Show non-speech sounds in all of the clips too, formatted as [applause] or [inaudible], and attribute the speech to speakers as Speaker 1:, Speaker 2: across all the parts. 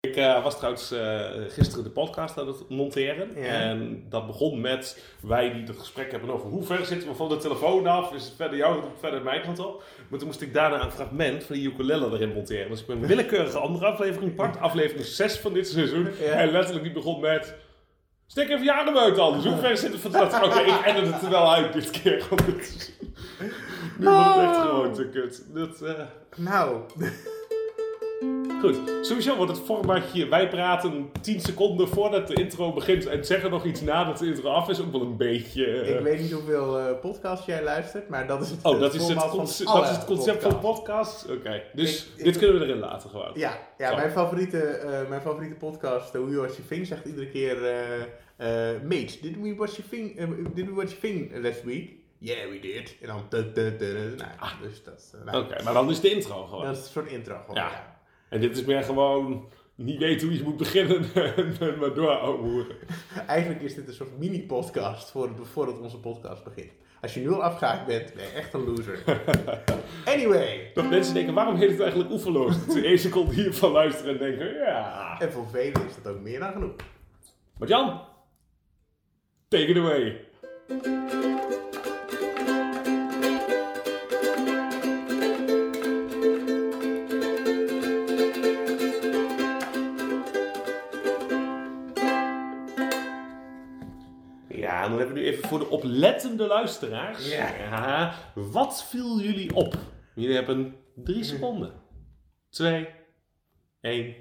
Speaker 1: Ik eh, was trouwens eh, gisteren de podcast aan het monteren.
Speaker 2: Ja.
Speaker 1: En dat begon met wij die het gesprek hebben over hoe ver zitten we van de telefoon af. Is het verder jouw kant op, verder mijn kant op. Maar toen moest ik daarna een fragment van die ukulele erin monteren. Dus ik ben een willekeurige andere aflevering gepakt. Aflevering 6 van dit seizoen.
Speaker 2: Ja.
Speaker 1: En letterlijk die begon met... Stik even je adem uit dan. Dus hoe ver zitten we van dat? Oké, ik edit het er wel uit dit keer. want het is- Nu wordt het echt
Speaker 2: Oh.
Speaker 1: gewoon te kut. Dat... eh, [laughs]
Speaker 2: Nou,
Speaker 1: Goed, sowieso wordt het formatje wij praten 10 seconden voordat de intro begint en zeggen nog iets nadat de intro af is ook wel een beetje... eh,
Speaker 2: ik weet niet hoeveel eh, podcasts jij luistert, maar dat is het, eh,
Speaker 1: oh, dat is het,
Speaker 2: format van
Speaker 1: conce-
Speaker 2: alle
Speaker 1: dat is het concept van
Speaker 2: podcasts.
Speaker 1: podcast? Oké, dus
Speaker 2: Ik- ik-
Speaker 1: dit kunnen we erin laten gewoon.
Speaker 2: Ja, ja
Speaker 1: Zo.
Speaker 2: mijn, favoriete, eh, mijn favoriete podcast, eh, Hoe Je Was Je Ving, zegt iedere keer... eh eh Mate, did we watch your thing, eh, did we watch your thing last week? Yeah, we did. En dan... duh, duh, duh, duh. Nou, dus dat, is, eh, nou,
Speaker 1: Ah. Oké, maar dan is de intro gewoon.
Speaker 2: dat is een soort intro gewoon.
Speaker 1: Ja.
Speaker 2: ja.
Speaker 1: En dit is meer gewoon niet weten hoe je moet beginnen [laughs] en maar door ouwehoeren.
Speaker 2: Eigenlijk is dit een soort mini-podcast voor, voordat onze podcast begint. Als je nu al afgehaakt bent, ben je echt een
Speaker 1: [laughs]
Speaker 2: loser. Anyway,
Speaker 1: Dat mensen denken, waarom heet het eigenlijk oeverloos? Dat ze één seconde hiervan luisteren en denken, ja...
Speaker 2: en voor velen is dat ook meer dan genoeg.
Speaker 1: Maar Jan, take it away. Ja, dan hebben we nu even voor de oplettende luisteraars.
Speaker 2: Ja.
Speaker 1: Ja, wat viel jullie op? Jullie hebben drie seconden. Twee, één.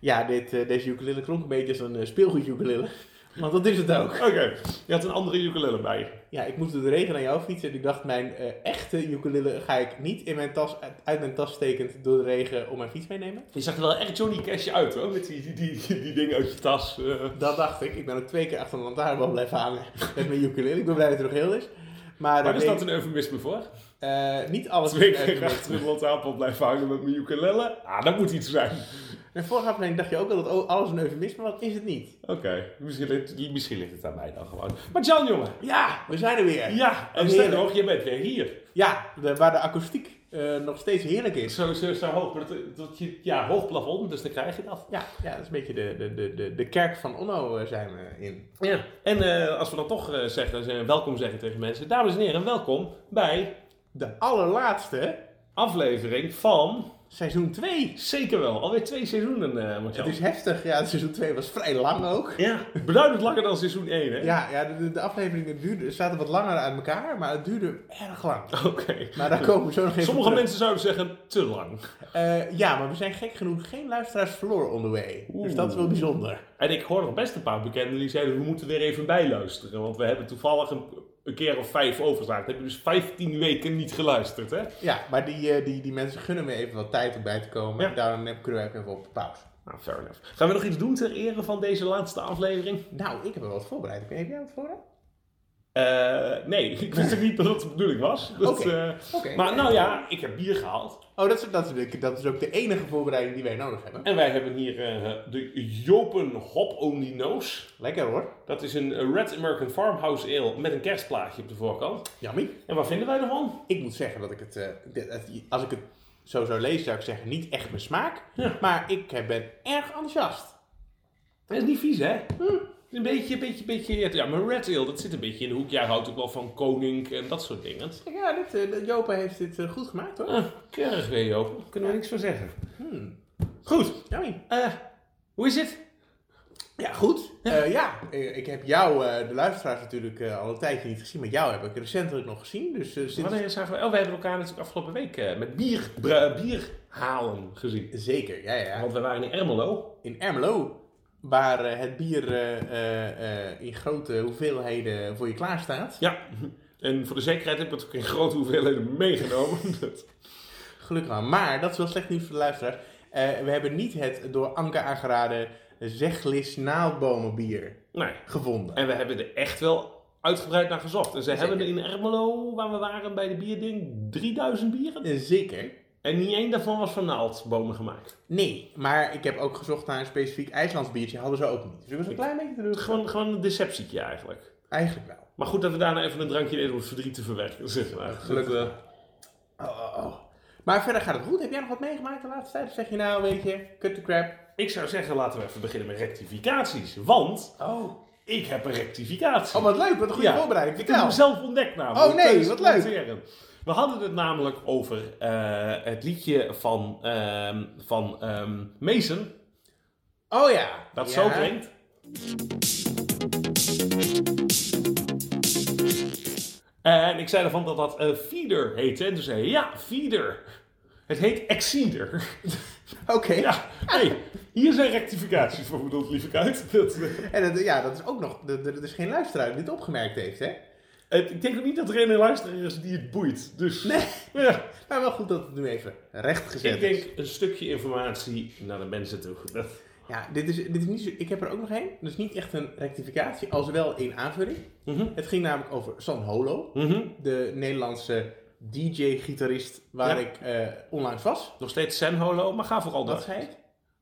Speaker 2: Ja, dit, eh, deze ukulele klonk een beetje als een eh, speelgoed ukulele. [laughs] Want dat is het ook.
Speaker 1: Oké, je had een andere ukulele bij je.
Speaker 2: Ja, ik moest door de regen naar jou fietsen. En ik dacht, mijn eh, echte ukulele ga ik niet in mijn tas, uit- uit mijn tas stekend door de regen op mijn fiets meenemen.
Speaker 1: Je zag er wel echt Johnny Cash uit hoor, met die, die, die, die, die ding uit je tas. eh.
Speaker 2: Dat dacht ik. Ik ben ook twee keer achter een lantaarnbal blijven hangen [laughs] met mijn ukulele. Ik ben blij dat het nog heel is. Maar,
Speaker 1: Waar
Speaker 2: eh,
Speaker 1: is
Speaker 2: nee,
Speaker 1: dat een eufemisme voor?
Speaker 2: eh, niet alles
Speaker 1: Twee
Speaker 2: is
Speaker 1: keer
Speaker 2: uitgewerkt.
Speaker 1: achter een lantaarnpot blijven hangen met mijn ukulele? Ah, dat moet iets zijn.
Speaker 2: En vorige aflevering dacht je ook al dat o- alles een eufemisme was, is het niet.
Speaker 1: Oké, misschien, ligt- misschien ligt het aan mij dan gewoon. Maar Jan jongen,
Speaker 2: Ja, we zijn er weer. Ja,
Speaker 1: ja, en
Speaker 2: Heerlijk.
Speaker 1: sterker nog, je bent weer hier.
Speaker 2: de- waar de akoestiek eh, nog steeds heerlijk is.
Speaker 1: Zo, zo, zo hoog, maar dat, dat je, ja, hoog plafond, dus dan krijg je dat.
Speaker 2: Ja, ja dat is een beetje de, de, de, de, de kerk van Onno eh, zijn we in.
Speaker 1: Ja. En eh, als we dan toch eh, zeggen, eh, welkom zeggen tegen mensen. Dames en heren, welkom bij
Speaker 2: De allerlaatste,
Speaker 1: aflevering van,
Speaker 2: seizoen 2.
Speaker 1: zeker wel, alweer twee seizoenen, eh Martjan.
Speaker 2: Het is heftig. Ja, seizoen 2 was vrij lang ook.
Speaker 1: Ja, beduidend langer dan seizoen 1, hè?
Speaker 2: Ja, ja de, de afleveringen duurden, zaten wat langer uit elkaar, maar het duurde erg lang.
Speaker 1: [laughs] Oké.
Speaker 2: Maar daar komen we zo nog even
Speaker 1: Sommige
Speaker 2: op terug.
Speaker 1: mensen zouden zeggen te lang.
Speaker 2: Eh, ja, maar we zijn gek genoeg geen luisteraars verloren onderweg. Dus
Speaker 1: Oeh.
Speaker 2: dat is wel bijzonder.
Speaker 1: En ik hoor nog best een paar bekenden die zeiden: we moeten weer even bijluisteren. Want we hebben toevallig een, een keer of vijf overgeslagen. Dan heb je dus 15 weken niet geluisterd, hè?
Speaker 2: Ja, maar die, eh, die, die mensen gunnen me even wat tijd om bij te komen.
Speaker 1: Ja.
Speaker 2: En daarom heb- kunnen we ook even op de pauze.
Speaker 1: Nou, fair enough. Gaan we nog iets doen ter ere van deze laatste aflevering?
Speaker 2: Nou, ik heb wel wat voorbereid. Ik weet- Heb jij wat voorbereid?
Speaker 1: Eh, nee, [laughs] ik wist ook niet dat dat de bedoeling was. Dat,
Speaker 2: Oké.
Speaker 1: eh,
Speaker 2: Oké.
Speaker 1: Maar nou ja, ik heb bier gehaald.
Speaker 2: Oh, dat is, dat, is, dat is ook de enige voorbereiding die wij nodig hebben.
Speaker 1: En wij hebben hier eh, de Jopen Hop Only Nose.
Speaker 2: Lekker hoor.
Speaker 1: Dat is een Red American Farmhouse Ale met een kerstplaatje op de voorkant.
Speaker 2: Jammie.
Speaker 1: En wat vinden wij ervan?
Speaker 2: Ik moet zeggen dat ik het, eh, dit- het- als ik het zo zou lezen, zou ik zeggen niet echt mijn smaak.
Speaker 1: Ja.
Speaker 2: Maar ik eh, ben erg enthousiast.
Speaker 1: Dat is niet vies, hè? Een beetje, een beetje, beetje... Ja, maar Red Ale, dat zit een beetje in de hoek. Jij houdt ook wel van koning en dat soort dingen.
Speaker 2: Ja, dit, eh, de- Jopa heeft dit eh, goed gemaakt hoor.
Speaker 1: Ah, keurig weer, Joop. Daar kunnen we niks van zeggen. Hm. Goed.
Speaker 2: Jammie.
Speaker 1: Eh, hoe is het?
Speaker 2: Ja, goed. Eh, ja, eh, ik heb jou, eh, de luisteraars natuurlijk, eh, al een tijdje niet gezien. Maar jou heb ik recentelijk nog gezien. Dus eh, sinds...
Speaker 1: Wanneer zagen we... Oh, wij hebben elkaar natuurlijk afgelopen week eh, met bier, bra- bier halen gezien.
Speaker 2: Zeker, ja, ja.
Speaker 1: Want we waren in Ermelo.
Speaker 2: in Ermelo, waar eh, het bier eh, eh, eh, in grote hoeveelheden voor je klaar staat.
Speaker 1: Ja. En voor de zekerheid heb ik het ook in grote hoeveelheden meegenomen. [laughs] Dat-
Speaker 2: Gelukkig maar. Maar dat is wel slecht nieuws voor de luisteraars. Eh, we hebben niet het door Anke aangeraden zeglis naaldbomenbier
Speaker 1: nee.
Speaker 2: gevonden.
Speaker 1: En we hebben er echt wel uitgebreid naar gezocht. En ze
Speaker 2: Zeker.
Speaker 1: hebben er in Ermelo, waar we waren bij de bierding, 3000 bieren.
Speaker 2: Eh, zeker.
Speaker 1: En niet één daarvan was van naaldbomen gemaakt.
Speaker 2: Nee, maar ik heb ook gezocht naar een specifiek IJslands biertje. Hadden ze ook niet. Dus ik was een klein beetje terug.
Speaker 1: Gewoon, gewoon een deceptietje eigenlijk.
Speaker 2: Eigenlijk wel.
Speaker 1: Maar goed dat we daarna even een drankje deden om het verdriet te verwerken. Zeg maar.
Speaker 2: Gelukkig.
Speaker 1: Dat, eh,
Speaker 2: Oh, oh, oh. Maar verder gaat het goed. Heb jij nog wat meegemaakt de laatste tijd? Of zeg je nou, weet je, cut the crap.
Speaker 1: Ik zou zeggen, laten we even beginnen met rectificaties. Want
Speaker 2: Oh.
Speaker 1: ik heb een rectificatie.
Speaker 2: Oh, wat leuk. Wat een goede
Speaker 1: Ja.
Speaker 2: voorbereiding.
Speaker 1: Ik heb hem
Speaker 2: Vertel.
Speaker 1: zelf ontdekt namelijk.
Speaker 2: Oh, nee,
Speaker 1: tijdens
Speaker 2: wat
Speaker 1: het
Speaker 2: leuk.
Speaker 1: monteren. We hadden het namelijk over eh, het liedje van, ehm van ehm Mason.
Speaker 2: Oh ja.
Speaker 1: Dat
Speaker 2: Ja.
Speaker 1: zo klinkt. En ik zei ervan dat dat eh, feeder heette. En toen zei hij, ja, feeder. Het heet exceeder.
Speaker 2: Oké.
Speaker 1: ja, hey, hier zijn rectificaties voor bedoeld, lieve kuit. Dat, eh,
Speaker 2: En dat, ja, dat is ook nog... Er er- er is geen luisteraar die dit opgemerkt heeft, hè?
Speaker 1: het- ik denk ook niet dat er een luisteraar is die het boeit. Dus
Speaker 2: Nee.
Speaker 1: ja,
Speaker 2: Maar wel goed dat het nu even recht gezet
Speaker 1: ik
Speaker 2: is.
Speaker 1: denk een stukje informatie naar de mensen toe. Dat-
Speaker 2: Ja, dit is, dit is niet zo... Ik heb er ook nog één. Dus niet echt een rectificatie, als wel een aanvulling.
Speaker 1: Mhm.
Speaker 2: Het ging namelijk over San Holo.
Speaker 1: Mhm.
Speaker 2: De Nederlandse DJ-gitarist waar
Speaker 1: Ja.
Speaker 2: ik eh, onlangs was.
Speaker 1: Nog steeds Sen Holo, maar ga vooral
Speaker 2: Wat
Speaker 1: dat.
Speaker 2: zei ik?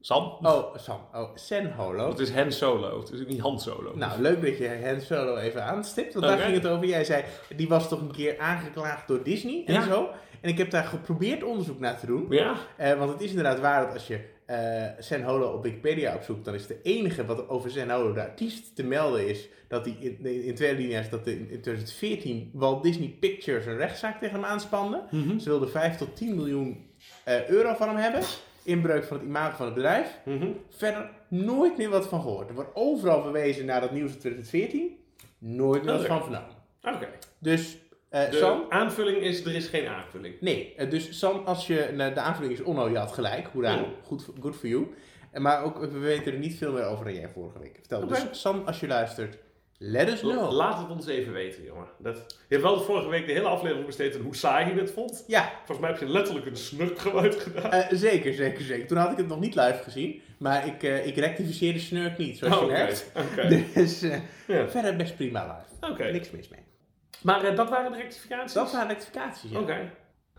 Speaker 1: Sam,
Speaker 2: Oh, Sam. Oh, San Holo.
Speaker 1: het is Hen Solo, het is ook niet Han Solo.
Speaker 2: Nou, leuk dat je Han Solo even aanstipt. Want
Speaker 1: Oké.
Speaker 2: daar ging het over. Jij zei, die was toch een keer aangeklaagd door Disney en
Speaker 1: Ja.
Speaker 2: zo. En ik heb daar geprobeerd onderzoek naar te doen.
Speaker 1: Ja,
Speaker 2: Eh, want het is inderdaad waar dat als je eh San Holo op Wikipedia opzoekt... dan is de enige wat over San Holo, de artiest, te melden is... dat hij in, in tweede linie is dat er in, in 2014 Walt Disney Pictures een rechtszaak tegen hem aanspande.
Speaker 1: Mhm.
Speaker 2: Ze wilden 5 tot 10 miljoen eh, euro van hem hebben. Inbreuk van het imago van het bedrijf.
Speaker 1: Mhm.
Speaker 2: Verder nooit meer wat van gehoord. Er wordt overal verwezen naar dat nieuws uit 2014. Nooit meer wat
Speaker 1: Oké.
Speaker 2: van vernomen.
Speaker 1: Oké.
Speaker 2: Dus eh,
Speaker 1: Oh, De
Speaker 2: Sam?
Speaker 1: aanvulling is, er is geen aanvulling.
Speaker 2: Nee. Eh, dus Sam, als je... nou, de aanvulling is onno, je had gelijk. Hoera.
Speaker 1: Oh.
Speaker 2: Goed, voor- good for you. Eh, maar ook, we weten er niet veel meer over dan jij vorige week vertelde.
Speaker 1: Oké.
Speaker 2: Dus Sam, als je luistert, let us
Speaker 1: La-
Speaker 2: know.
Speaker 1: Laat het ons even weten, jongen. Dat... Je hebt wel de vorige week de hele aflevering besteed aan hoe saai je het vond.
Speaker 2: ja,
Speaker 1: Volgens mij heb je letterlijk een snurkgeluid gedaan.
Speaker 2: eh, zeker, zeker, zeker. Toen had ik het nog niet live gezien. Maar ik, eh ik rectificeerde snurk niet, zoals je
Speaker 1: Oh, Oké,
Speaker 2: merkt.
Speaker 1: oké.
Speaker 2: Dus eh,
Speaker 1: Ja,
Speaker 2: verder best prima live.
Speaker 1: oké.
Speaker 2: Niks mis mee.
Speaker 1: Maar eh, dat waren de rectificaties?
Speaker 2: Dat waren rectificaties, ja.
Speaker 1: Oké.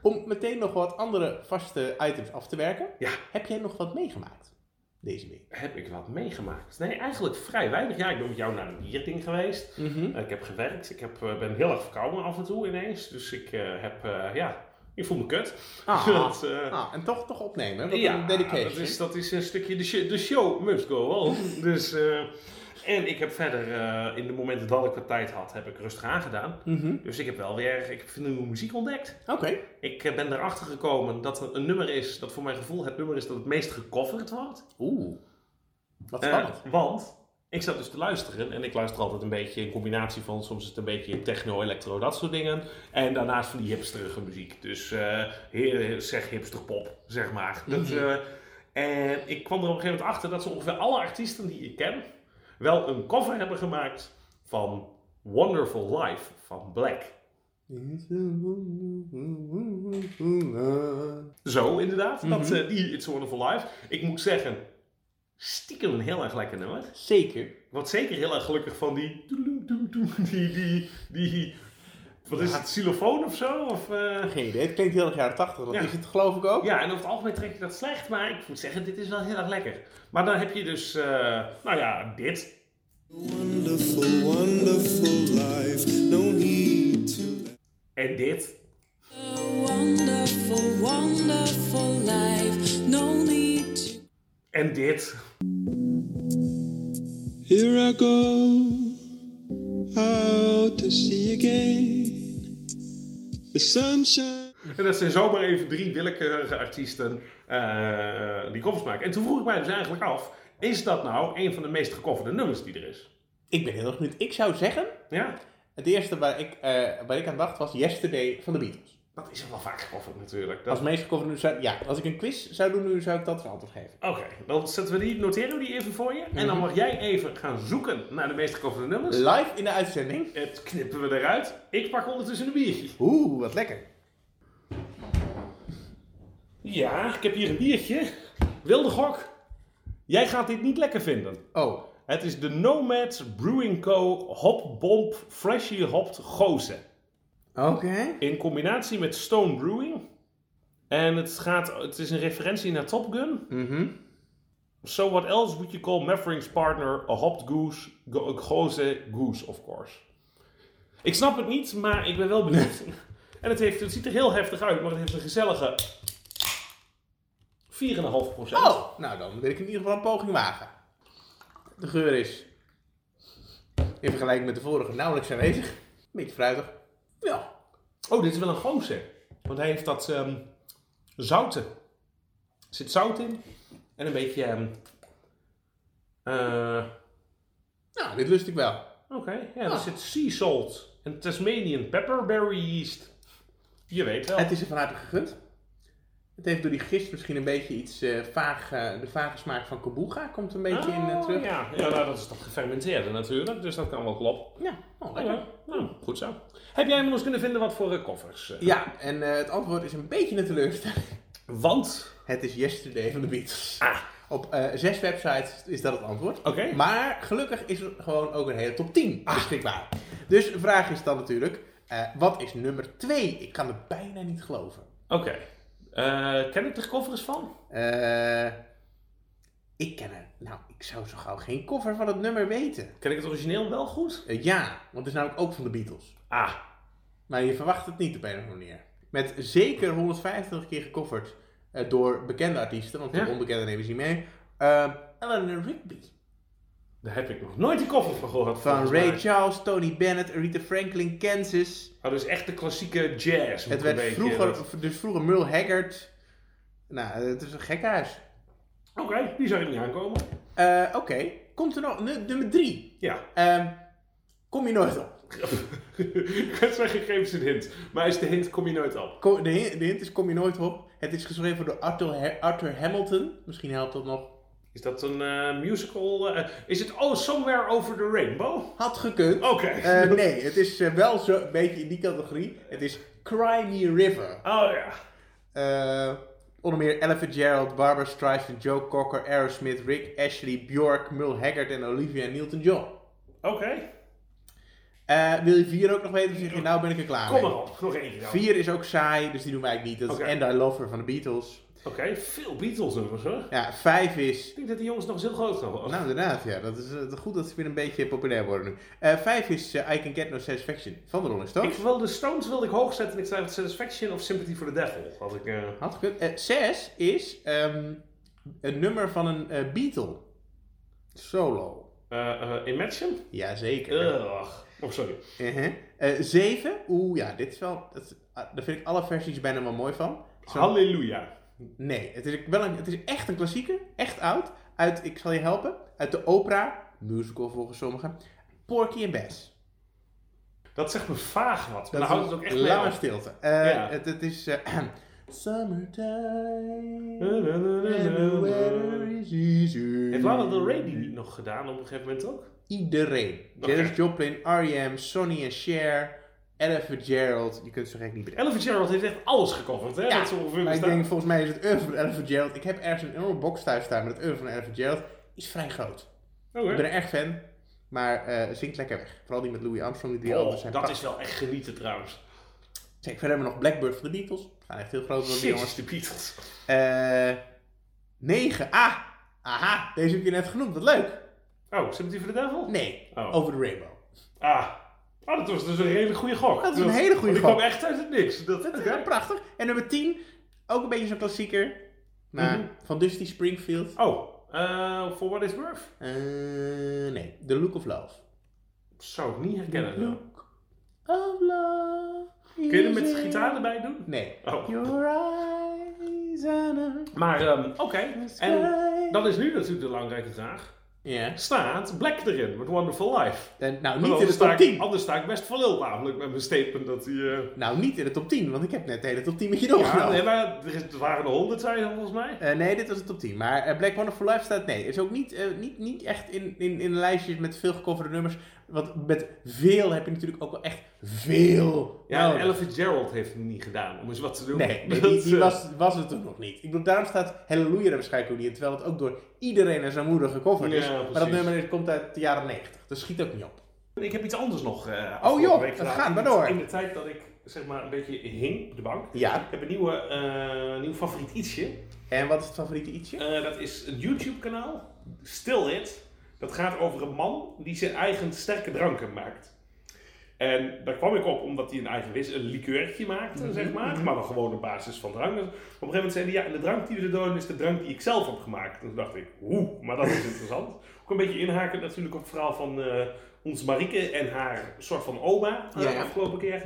Speaker 2: Om meteen nog wat andere vaste items af te werken.
Speaker 1: Ja.
Speaker 2: Heb jij nog wat meegemaakt deze week?
Speaker 1: Heb ik wat meegemaakt? Nee, eigenlijk vrij weinig. Ja, ik ben met jou naar een bierding geweest.
Speaker 2: Mhm.
Speaker 1: Eh, Ik heb gewerkt. Ik heb, eh, ben heel erg verkouden af en toe ineens. Dus ik eh, heb, eh, ja, ik voel me kut.
Speaker 2: Ah,
Speaker 1: [laughs] Dat, eh,
Speaker 2: ah, en toch, toch opnemen. Wat
Speaker 1: ja,
Speaker 2: een dedication.
Speaker 1: dat is, dat is een stukje de, sh- de show must go on. [laughs] dus, eh, en ik heb verder, eh, in de momenten dat ik wat tijd had, heb ik rustig aangedaan.
Speaker 2: Mhm.
Speaker 1: Dus ik heb wel weer, ik heb nieuwe muziek ontdekt.
Speaker 2: Oké.
Speaker 1: Ik eh, ben erachter gekomen dat er een nummer is, dat voor mijn gevoel het nummer is dat het meest gecoverd wordt.
Speaker 2: Oeh. Wat
Speaker 1: Eh,
Speaker 2: spannend.
Speaker 1: want ik zat dus te luisteren en ik luister altijd een beetje in combinatie van soms is het een beetje techno, electro, dat soort dingen. En daarnaast van die hipsterige muziek. Dus eh, heer, zeg hipster pop, zeg maar. Dat,
Speaker 2: Mhm.
Speaker 1: eh, en ik kwam er op een gegeven moment achter dat ze ongeveer alle artiesten die ik ken wel een cover hebben gemaakt van Wonderful Life van Black. Zo, inderdaad. dat,
Speaker 2: Mhm.
Speaker 1: eh, die It's a Wonderful Life. Ik moet zeggen, stiekem een heel erg lekker nummer.
Speaker 2: Zeker.
Speaker 1: Wat zeker heel erg gelukkig van die. [laughs] Die. die, die wat is het, xylofoon of zo? Of, eh,
Speaker 2: Geen idee. Het klinkt heel erg jaren 80. Dat
Speaker 1: Ja.
Speaker 2: is het geloof ik ook.
Speaker 1: Ja, en over het algemeen trek je dat slecht, maar ik moet zeggen, dit is wel heel erg lekker. Maar dan heb je dus, eh, nou ja, dit.
Speaker 3: Wonderful, wonderful life. No need to.
Speaker 1: En dit.
Speaker 4: A wonderful, wonderful life. No need to.
Speaker 1: En dit. [laughs]
Speaker 3: Here I go out to sea again. The sunshine.
Speaker 1: En dat zijn zomaar even drie willekeurige artiesten eh, die covers maken. En toen vroeg ik mij dus eigenlijk af: is dat nou een van de meest gecoverde nummers die er is?
Speaker 2: Ik ben heel erg benieuwd. Ik zou zeggen,
Speaker 1: Ja?
Speaker 2: het eerste waar ik, eh, waar ik aan dacht was Yesterday van de Beatles.
Speaker 1: Dat is wel vaak gecoverd natuurlijk. Dat-
Speaker 2: Als meest gecoverd nu zou... Ja, als ik een quiz zou doen nu, zou ik dat als antwoord geven.
Speaker 1: Oké, dan zetten we die, noteren we die even voor je. En dan mag jij even gaan zoeken naar de meest gecoverde nummers.
Speaker 2: Live in de uitzending.
Speaker 1: Het knippen we eruit. Ik pak ondertussen een biertje.
Speaker 2: Oeh, wat lekker.
Speaker 1: Ja, ik heb hier een biertje. Wilde gok. Jij gaat dit niet lekker vinden.
Speaker 2: Oh,
Speaker 1: Het is de Nomad Brewing Co. Hop Bomb Freshy Hopped Gozen.
Speaker 2: oké.
Speaker 1: In combinatie met Stone Brewing. En het, gaat, het is een referentie naar Top Gun.
Speaker 2: Mhm.
Speaker 1: So what else would you call Maverick's partner a hopped goose, go, a goose, goose, of course? Ik snap het niet, maar ik ben wel benieuwd. En het, heeft, het ziet er heel heftig uit, maar het heeft een gezellige 4,5 procent.
Speaker 2: Oh, nou dan wil ik in ieder geval een poging wagen. De geur is, in vergelijking met de vorige, nauwelijks aanwezig. Beetje fruitig. Ja.
Speaker 1: Oh, dit is wel een gozer. Want hij heeft dat ehm zouten. Er zit zout in. En een beetje... ehm, eh,
Speaker 2: Nou, dit lust ik wel.
Speaker 1: Oké, ja, er zit sea salt. En Tasmanian pepperberry yeast. Je weet wel.
Speaker 2: Het is er vanuit gegund. Het heeft door die gist misschien een beetje iets eh, vaag, eh, de vage smaak van kaboega komt een beetje in eh,
Speaker 1: Oh,
Speaker 2: terug.
Speaker 1: Ja, ja nou, dat is dat gefermenteerde natuurlijk. Dus dat kan wel kloppen.
Speaker 2: Ja, oh,
Speaker 1: Oh,
Speaker 2: lekker.
Speaker 1: ja. Nou, goed zo. Heb jij inmiddels kunnen vinden wat voor eh, koffers? eh?
Speaker 2: Ja, en eh, het antwoord is een beetje een teleurstelling. [laughs]
Speaker 1: Want...
Speaker 2: Het is Yesterday van de Beatles.
Speaker 1: Ah.
Speaker 2: Op eh, zes websites is dat het antwoord.
Speaker 1: Oké.
Speaker 2: Maar gelukkig is er gewoon ook een hele top 10
Speaker 1: Ah.
Speaker 2: beschikbaar. Dus de vraag is dan natuurlijk, eh, wat is nummer 2? Ik kan het bijna niet geloven.
Speaker 1: Oké. Eh, ken ik de koffers van?
Speaker 2: Eh, ik ken er, nou, ik zou zo gauw geen koffer van het nummer weten.
Speaker 1: Ken ik het origineel wel goed?
Speaker 2: Eh, ja, want het is namelijk ook van de Beatles.
Speaker 1: Ah,
Speaker 2: Maar je verwacht het niet op een of andere manier. Met zeker 125 keer gecoverd eh, door bekende artiesten, want de
Speaker 1: Ja.
Speaker 2: onbekende nemen ze niet mee. Eh Eleanor Rigby.
Speaker 1: daar heb ik nog nooit die koffer van gehoord.
Speaker 2: Van
Speaker 1: volgens mij.
Speaker 2: Ray Charles, Tony Bennett, Aretha Franklin, Kansas.
Speaker 1: Oh, dus echt de klassieke jazz. moet
Speaker 2: Het
Speaker 1: ik
Speaker 2: werd
Speaker 1: een beetje- dat-
Speaker 2: vroeger, dus vroeger Merle Haggard. Nou, het is een gekhuis.
Speaker 1: Oké, die zou je niet aankomen.
Speaker 2: Eh Oké, komt er nog, nu- nummer 3.
Speaker 1: Ja. [laughs]
Speaker 2: kom je nooit op.
Speaker 1: ik ga zeggen, geef eens een hint. Maar als de hint kom je nooit op.
Speaker 2: Ko- De hint, de hint is kom je nooit op. Het is geschreven door Arthur, Ha- Arthur Hamilton. Misschien helpt dat nog.
Speaker 1: Is dat een eh, musical? eh, is het Oh, Somewhere Over the Rainbow?
Speaker 2: Had gekund.
Speaker 1: Oké.
Speaker 2: Eh, nee, het is eh, wel zo, een beetje in die categorie. Het is Cry Me a River.
Speaker 1: Oh ja.
Speaker 2: Eh, onder meer Ella Fitzgerald, Barbara Streisand, Joe Cocker, Aerosmith, Rick Ashley, Bjork, Merle Haggard en Olivia Newton-John.
Speaker 1: Oké.
Speaker 2: Eh, wil je vier ook nog weten? Of zeg je, nou ben ik er klaar
Speaker 1: Kom
Speaker 2: mee.
Speaker 1: maar op. Nog eentje dan.
Speaker 2: Vier is ook saai, dus die doen wij eigenlijk niet. Dat
Speaker 1: Oké.
Speaker 2: is And I Love Her van de Beatles.
Speaker 1: Oké, veel Beatles nummers hoor.
Speaker 2: Ja, vijf is...
Speaker 1: Ik denk dat die jongens nog eens heel groot gaan worden.
Speaker 2: Nou, inderdaad, ja. Dat is eh, goed dat ze weer een beetje populair worden nu. Eh, vijf is eh, I Can Get No Satisfaction van de Rolling
Speaker 1: ik
Speaker 2: Stones.
Speaker 1: wilde de Stones wilde ik hoog zetten en ik zei Satisfaction of Sympathy for the Devil. Had ik, eh,
Speaker 2: Had gekund. Eh, zes is ehm, een nummer van een eh, Beatle. Solo.
Speaker 1: eh, eh, Imagine?
Speaker 2: Jazeker.
Speaker 1: Ugh. Oh, sorry.
Speaker 2: Uh-huh. Eh, zeven. Oeh, ja, dit is wel... Dat, is- ah, daar vind ik alle versies bijna wel mooi van. Zo'n-
Speaker 1: Halleluja.
Speaker 2: Nee, het is, wel een, het is echt een klassieker. Echt oud. Uit, ik zal je helpen. Uit de opera. Musical volgens sommigen. Porky and Bess.
Speaker 1: Dat zegt me vaag wat. Maar Nou,
Speaker 2: Dat
Speaker 1: daar houdt het ook echt mee
Speaker 2: lange
Speaker 1: op.
Speaker 2: stilte. Eh,
Speaker 1: Ja.
Speaker 2: het, het is... eh, [clears throat] Summertime. And the weather
Speaker 1: Heeft
Speaker 2: is easy.
Speaker 1: Lana Del Rey die niet nog gedaan op een gegeven moment ook?
Speaker 2: iedereen.
Speaker 1: Oké.
Speaker 2: Janis Joplin, R.E.M., Sonny en Cher, Ella Fitzgerald. Je kunt ze gek niet bedenken.
Speaker 1: Ella Fitzgerald heeft echt alles gecoverd, hè? dat ze ongeveer
Speaker 2: maar ik
Speaker 1: bestaan.
Speaker 2: denk, volgens mij is het oeuvre van Ella Fitzgerald. Ik heb ergens een enorme box thuis staan met het oeuvre van Ella Fitzgerald. Is vrij groot.
Speaker 1: Oké.
Speaker 2: Ik ben er echt fan, maar eh, zingt lekker weg. Vooral die met Louis Armstrong, die drie
Speaker 1: Oh,
Speaker 2: albums zijn
Speaker 1: dat is
Speaker 2: prachtig.
Speaker 1: wel echt genieten trouwens.
Speaker 2: Zeg, verder hebben we nog Blackbird van de Beatles. We gaan echt heel groot worden, die
Speaker 1: Jezus,
Speaker 2: jongens.
Speaker 1: de Beatles.
Speaker 2: Eh 9. Ah, aha, deze heb je net genoemd. Wat leuk.
Speaker 1: Oh, Sympathy for the Devil?
Speaker 2: Nee,
Speaker 1: Oh.
Speaker 2: over de rainbow.
Speaker 1: Ah. Oh, dat was dus een hele goede gok.
Speaker 2: Dat is een hele goede
Speaker 1: Want Die
Speaker 2: gok.
Speaker 1: kwam echt uit het niks. Dat,
Speaker 2: Dat is
Speaker 1: oké.
Speaker 2: wel prachtig. En nummer 10, ook een beetje zo'n klassieker. Maar
Speaker 1: Mhm.
Speaker 2: van Dusty Springfield.
Speaker 1: Oh, eh, For What It's Worth?
Speaker 2: Eh, nee, The Look of Love.
Speaker 1: Zou ik niet herkennen.
Speaker 2: Mm-hmm.
Speaker 1: nou.
Speaker 2: Of love.
Speaker 1: Kun je er met gitaar erbij doen?
Speaker 2: Nee.
Speaker 1: Oh.
Speaker 2: Your eyes are
Speaker 1: Maar, ehm, oké. En
Speaker 2: sky.
Speaker 1: dat is nu natuurlijk de belangrijke vraag.
Speaker 2: Ja.
Speaker 1: Staat Black erin met Wonderful Life?
Speaker 2: En nou,
Speaker 1: Maar
Speaker 2: niet in de
Speaker 1: anders sta
Speaker 2: top
Speaker 1: ik-
Speaker 2: 10.
Speaker 1: Anders sta ik best voor lul namelijk met mijn statement dat hij... eh,
Speaker 2: Nou, niet in de top 10, want ik heb net de hele top 10 met je
Speaker 1: Ja,
Speaker 2: doorgenomen.
Speaker 1: nee, maar er is- er waren er honderd, zei je volgens mij.
Speaker 2: Eh, nee, dit was de top 10. Maar eh, Black Wonderful Life staat nee. Is ook niet, eh, niet, niet echt in, in, in lijstjes met veel gecoverde nummers. Want met veel heb je natuurlijk ook wel echt veel.
Speaker 1: Ja,
Speaker 2: nodig.
Speaker 1: en Ella Fitzgerald heeft het niet gedaan, om eens wat te doen. [laughs]
Speaker 2: Nou, Nee, nee,
Speaker 1: Dat,
Speaker 2: die, die
Speaker 1: eh,
Speaker 2: was, was het toen nog niet. Ik bedoel, daarom staat Halleluja er waarschijnlijk ook niet in. Terwijl het ook door iedereen en zijn moeder gecoverd is.
Speaker 1: Ja,
Speaker 2: maar dat
Speaker 1: precies.
Speaker 2: nummer is- komt uit de jaren 90. Dus schiet ook niet op.
Speaker 1: Ik heb iets anders nog eh,
Speaker 2: Oh, joh,
Speaker 1: afgelopen week
Speaker 2: het
Speaker 1: gedaan.
Speaker 2: gaat maar
Speaker 1: In de-
Speaker 2: door.
Speaker 1: In de tijd dat ik, zeg maar, een beetje hing op de bank.
Speaker 2: Ja.
Speaker 1: Ik heb een nieuwe, eh, nieuw favoriet ietsje.
Speaker 2: En wat is het favoriete ietsje?
Speaker 1: Eh, dat is een YouTube-kanaal, Still It. Dat gaat over een man die zijn eigen sterke dranken maakt. En daar kwam ik op omdat hij een eigen wis, een likeurtje maakte,
Speaker 2: Mhm,
Speaker 1: zeg maar. Maar dan gewoon op basis van drank. Dus op een gegeven moment zei hij, ja, en de drank die we er doen is de drank die ik zelf heb gemaakt. Toen dacht ik, oeh, maar dat
Speaker 2: [laughs]
Speaker 1: is interessant. Ook een beetje inhaken natuurlijk op het verhaal van eh ons Marieke en haar soort van oma, eh,
Speaker 2: Ja, ja.
Speaker 1: afgelopen keer.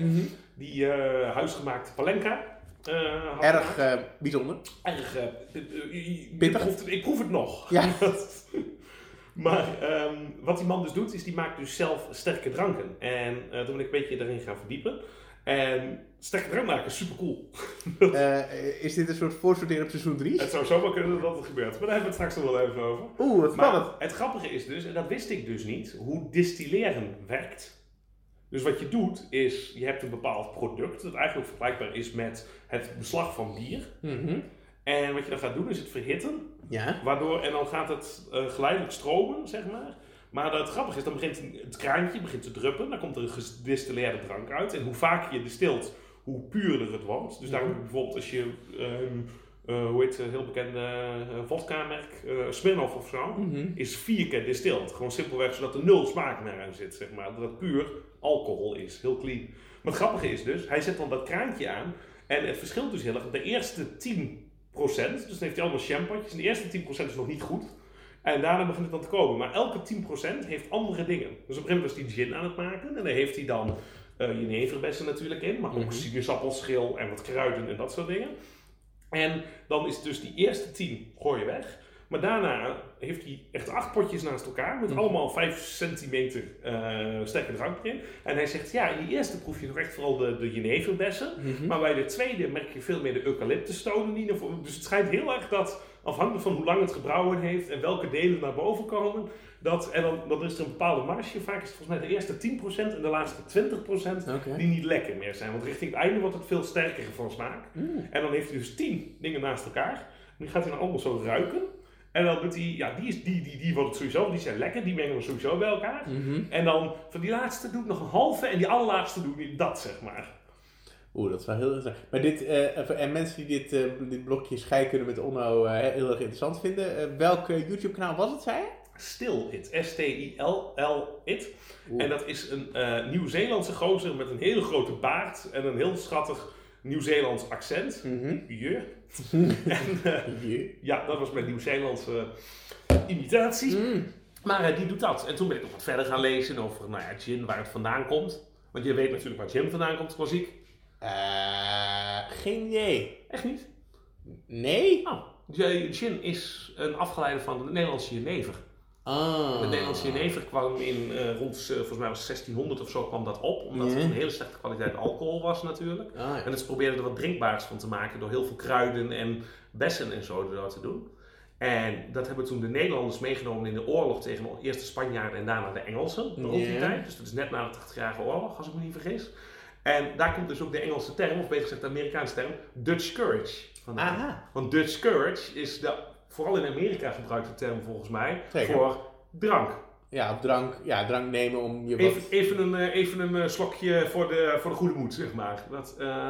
Speaker 1: Die eh, huisgemaakte palenka. eh, had
Speaker 2: Erg eh, bijzonder.
Speaker 1: erg eh, eh, eh,
Speaker 2: Pittig.
Speaker 1: Ik proef het, ik proef het nog.
Speaker 2: Ja.
Speaker 1: [laughs] maar ehm, wat die man dus doet, is die maakt dus zelf sterke dranken. En eh, toen ben ik een beetje erin gaan verdiepen. En sterke drank maken is super cool.
Speaker 2: Eh, is dit een soort voorsorteren op seizoen 3?
Speaker 1: het zou zomaar kunnen dat het gebeurt. Maar daar hebben we het straks nog wel even over.
Speaker 2: Oeh, wat
Speaker 1: Maar
Speaker 2: spannend.
Speaker 1: het grappige is dus, en dat wist ik dus niet, hoe distilleren werkt. Dus wat je doet is, je hebt een bepaald product dat eigenlijk vergelijkbaar is met het beslag van bier. Mhm. En wat je dan gaat doen is het verhitten
Speaker 2: Ja.
Speaker 1: Waardoor, en dan gaat het eh, geleidelijk stromen, zeg maar. Maar het grappige is, dan begint het kraantje begint te druppen. Dan komt er een gedistilleerde drank uit. En hoe vaker je destilt, hoe puurder het wordt. Dus daarom bijvoorbeeld als je, ehm, eh, hoe heet het, heel bekende eh, vodka-merk, eh Smirnoff of zo, is vier keer destild. Gewoon simpelweg zodat er nul smaak meer aan zit, zeg maar. Dat het puur alcohol is, heel clean. Maar het grappige is dus, hij zet dan dat kraantje aan. En het verschilt dus heel erg. De eerste 10 procent. Dus dan heeft hij allemaal shampootjes. En de eerste 10% is nog niet goed. En daarna begint het dan te komen. Maar elke 10% heeft andere dingen. Dus op een gegeven moment was hij gin aan het maken. En daar heeft hij dan eh jeneverbessen natuurlijk in. Maar ook sinaasappelschil en wat kruiden en dat soort dingen. En dan is dus die eerste 10 gooi je weg. Maar daarna heeft hij echt acht potjes naast elkaar. Met allemaal 5 centimeter eh sterke drank erin. En hij zegt, ja, in die eerste proef je nog echt vooral de, de jeneverbessen. Maar bij de tweede merk je veel meer de eucalyptusstonen die naar voren- Dus het schijnt heel erg dat, afhankelijk van hoe lang het gebrouwen heeft en welke delen naar boven komen, dat, en dan, dan is er een bepaalde marge. Vaak is het volgens mij de eerste 10% en de laatste 20%
Speaker 2: Oké.
Speaker 1: die niet lekker meer zijn. Want richting het einde wordt het veel sterker van smaak. En dan heeft hij dus 10 dingen naast elkaar. En die gaat hij dan allemaal zo ruiken. En dan doet hij, ja, die, is, die, die, die wordt het sowieso, die zijn lekker, die mengen we sowieso bij elkaar. En dan van die laatste doe ik nog een halve en die allerlaatste doe ik dat, zeg maar.
Speaker 2: Oeh, dat is wel heel interessant. Maar dit, eh, en mensen die dit, eh, dit blokje schei kunnen met Onno eh, heel erg interessant vinden. Eh, welk eh, YouTube-kanaal was het, zei je?
Speaker 1: Still It, S-T-I-L-L It.
Speaker 2: Oeh.
Speaker 1: En dat is een eh, Nieuw-Zeelandse gozer met een hele grote baard en een heel schattig Nieuw-Zeelands accent. Je. en, eh,
Speaker 2: Hier.
Speaker 1: Ja, dat was mijn Nieuw-Zeelandse eh, imitatie. Maar eh, die doet dat. En toen ben ik nog wat verder gaan lezen over nou ja, gin, waar het vandaan komt. Want je weet natuurlijk waar gin vandaan komt, klassiek.
Speaker 2: Eh, geen idee.
Speaker 1: Echt niet?
Speaker 2: Nee?
Speaker 1: Nou, j- gin is een afgeleide van de Nederlandse jenever.
Speaker 2: Ah.
Speaker 1: De Nederlandse jenever kwam in eh, rond, eh, volgens mij was 1600 of zo, kwam dat op. Omdat
Speaker 2: Ja.
Speaker 1: het een hele slechte kwaliteit alcohol was natuurlijk.
Speaker 2: Ah, ja.
Speaker 1: En ze probeerden er wat drinkbaars van te maken door heel veel kruiden en bessen en zo erdoor te doen. En dat hebben toen de Nederlanders meegenomen in de oorlog tegen eerst de Spanjaarden en daarna de Engelsen rond die
Speaker 2: Ja.
Speaker 1: tijd. Dus dat is net na de 80-jarige oorlog, als ik me niet vergis. En daar komt dus ook de Engelse term, of beter gezegd de Amerikaanse term, Dutch Courage vandaan.
Speaker 2: Aha.
Speaker 1: Want Dutch Courage is de, vooral in Amerika gebruikte term volgens mij,
Speaker 2: Zeker.
Speaker 1: voor drank.
Speaker 2: Ja, op drank, ja, drank nemen om je wat...
Speaker 1: Even, even een, eh, even een eh, slokje voor de, voor de goede moed, zeg maar. Dat, eh,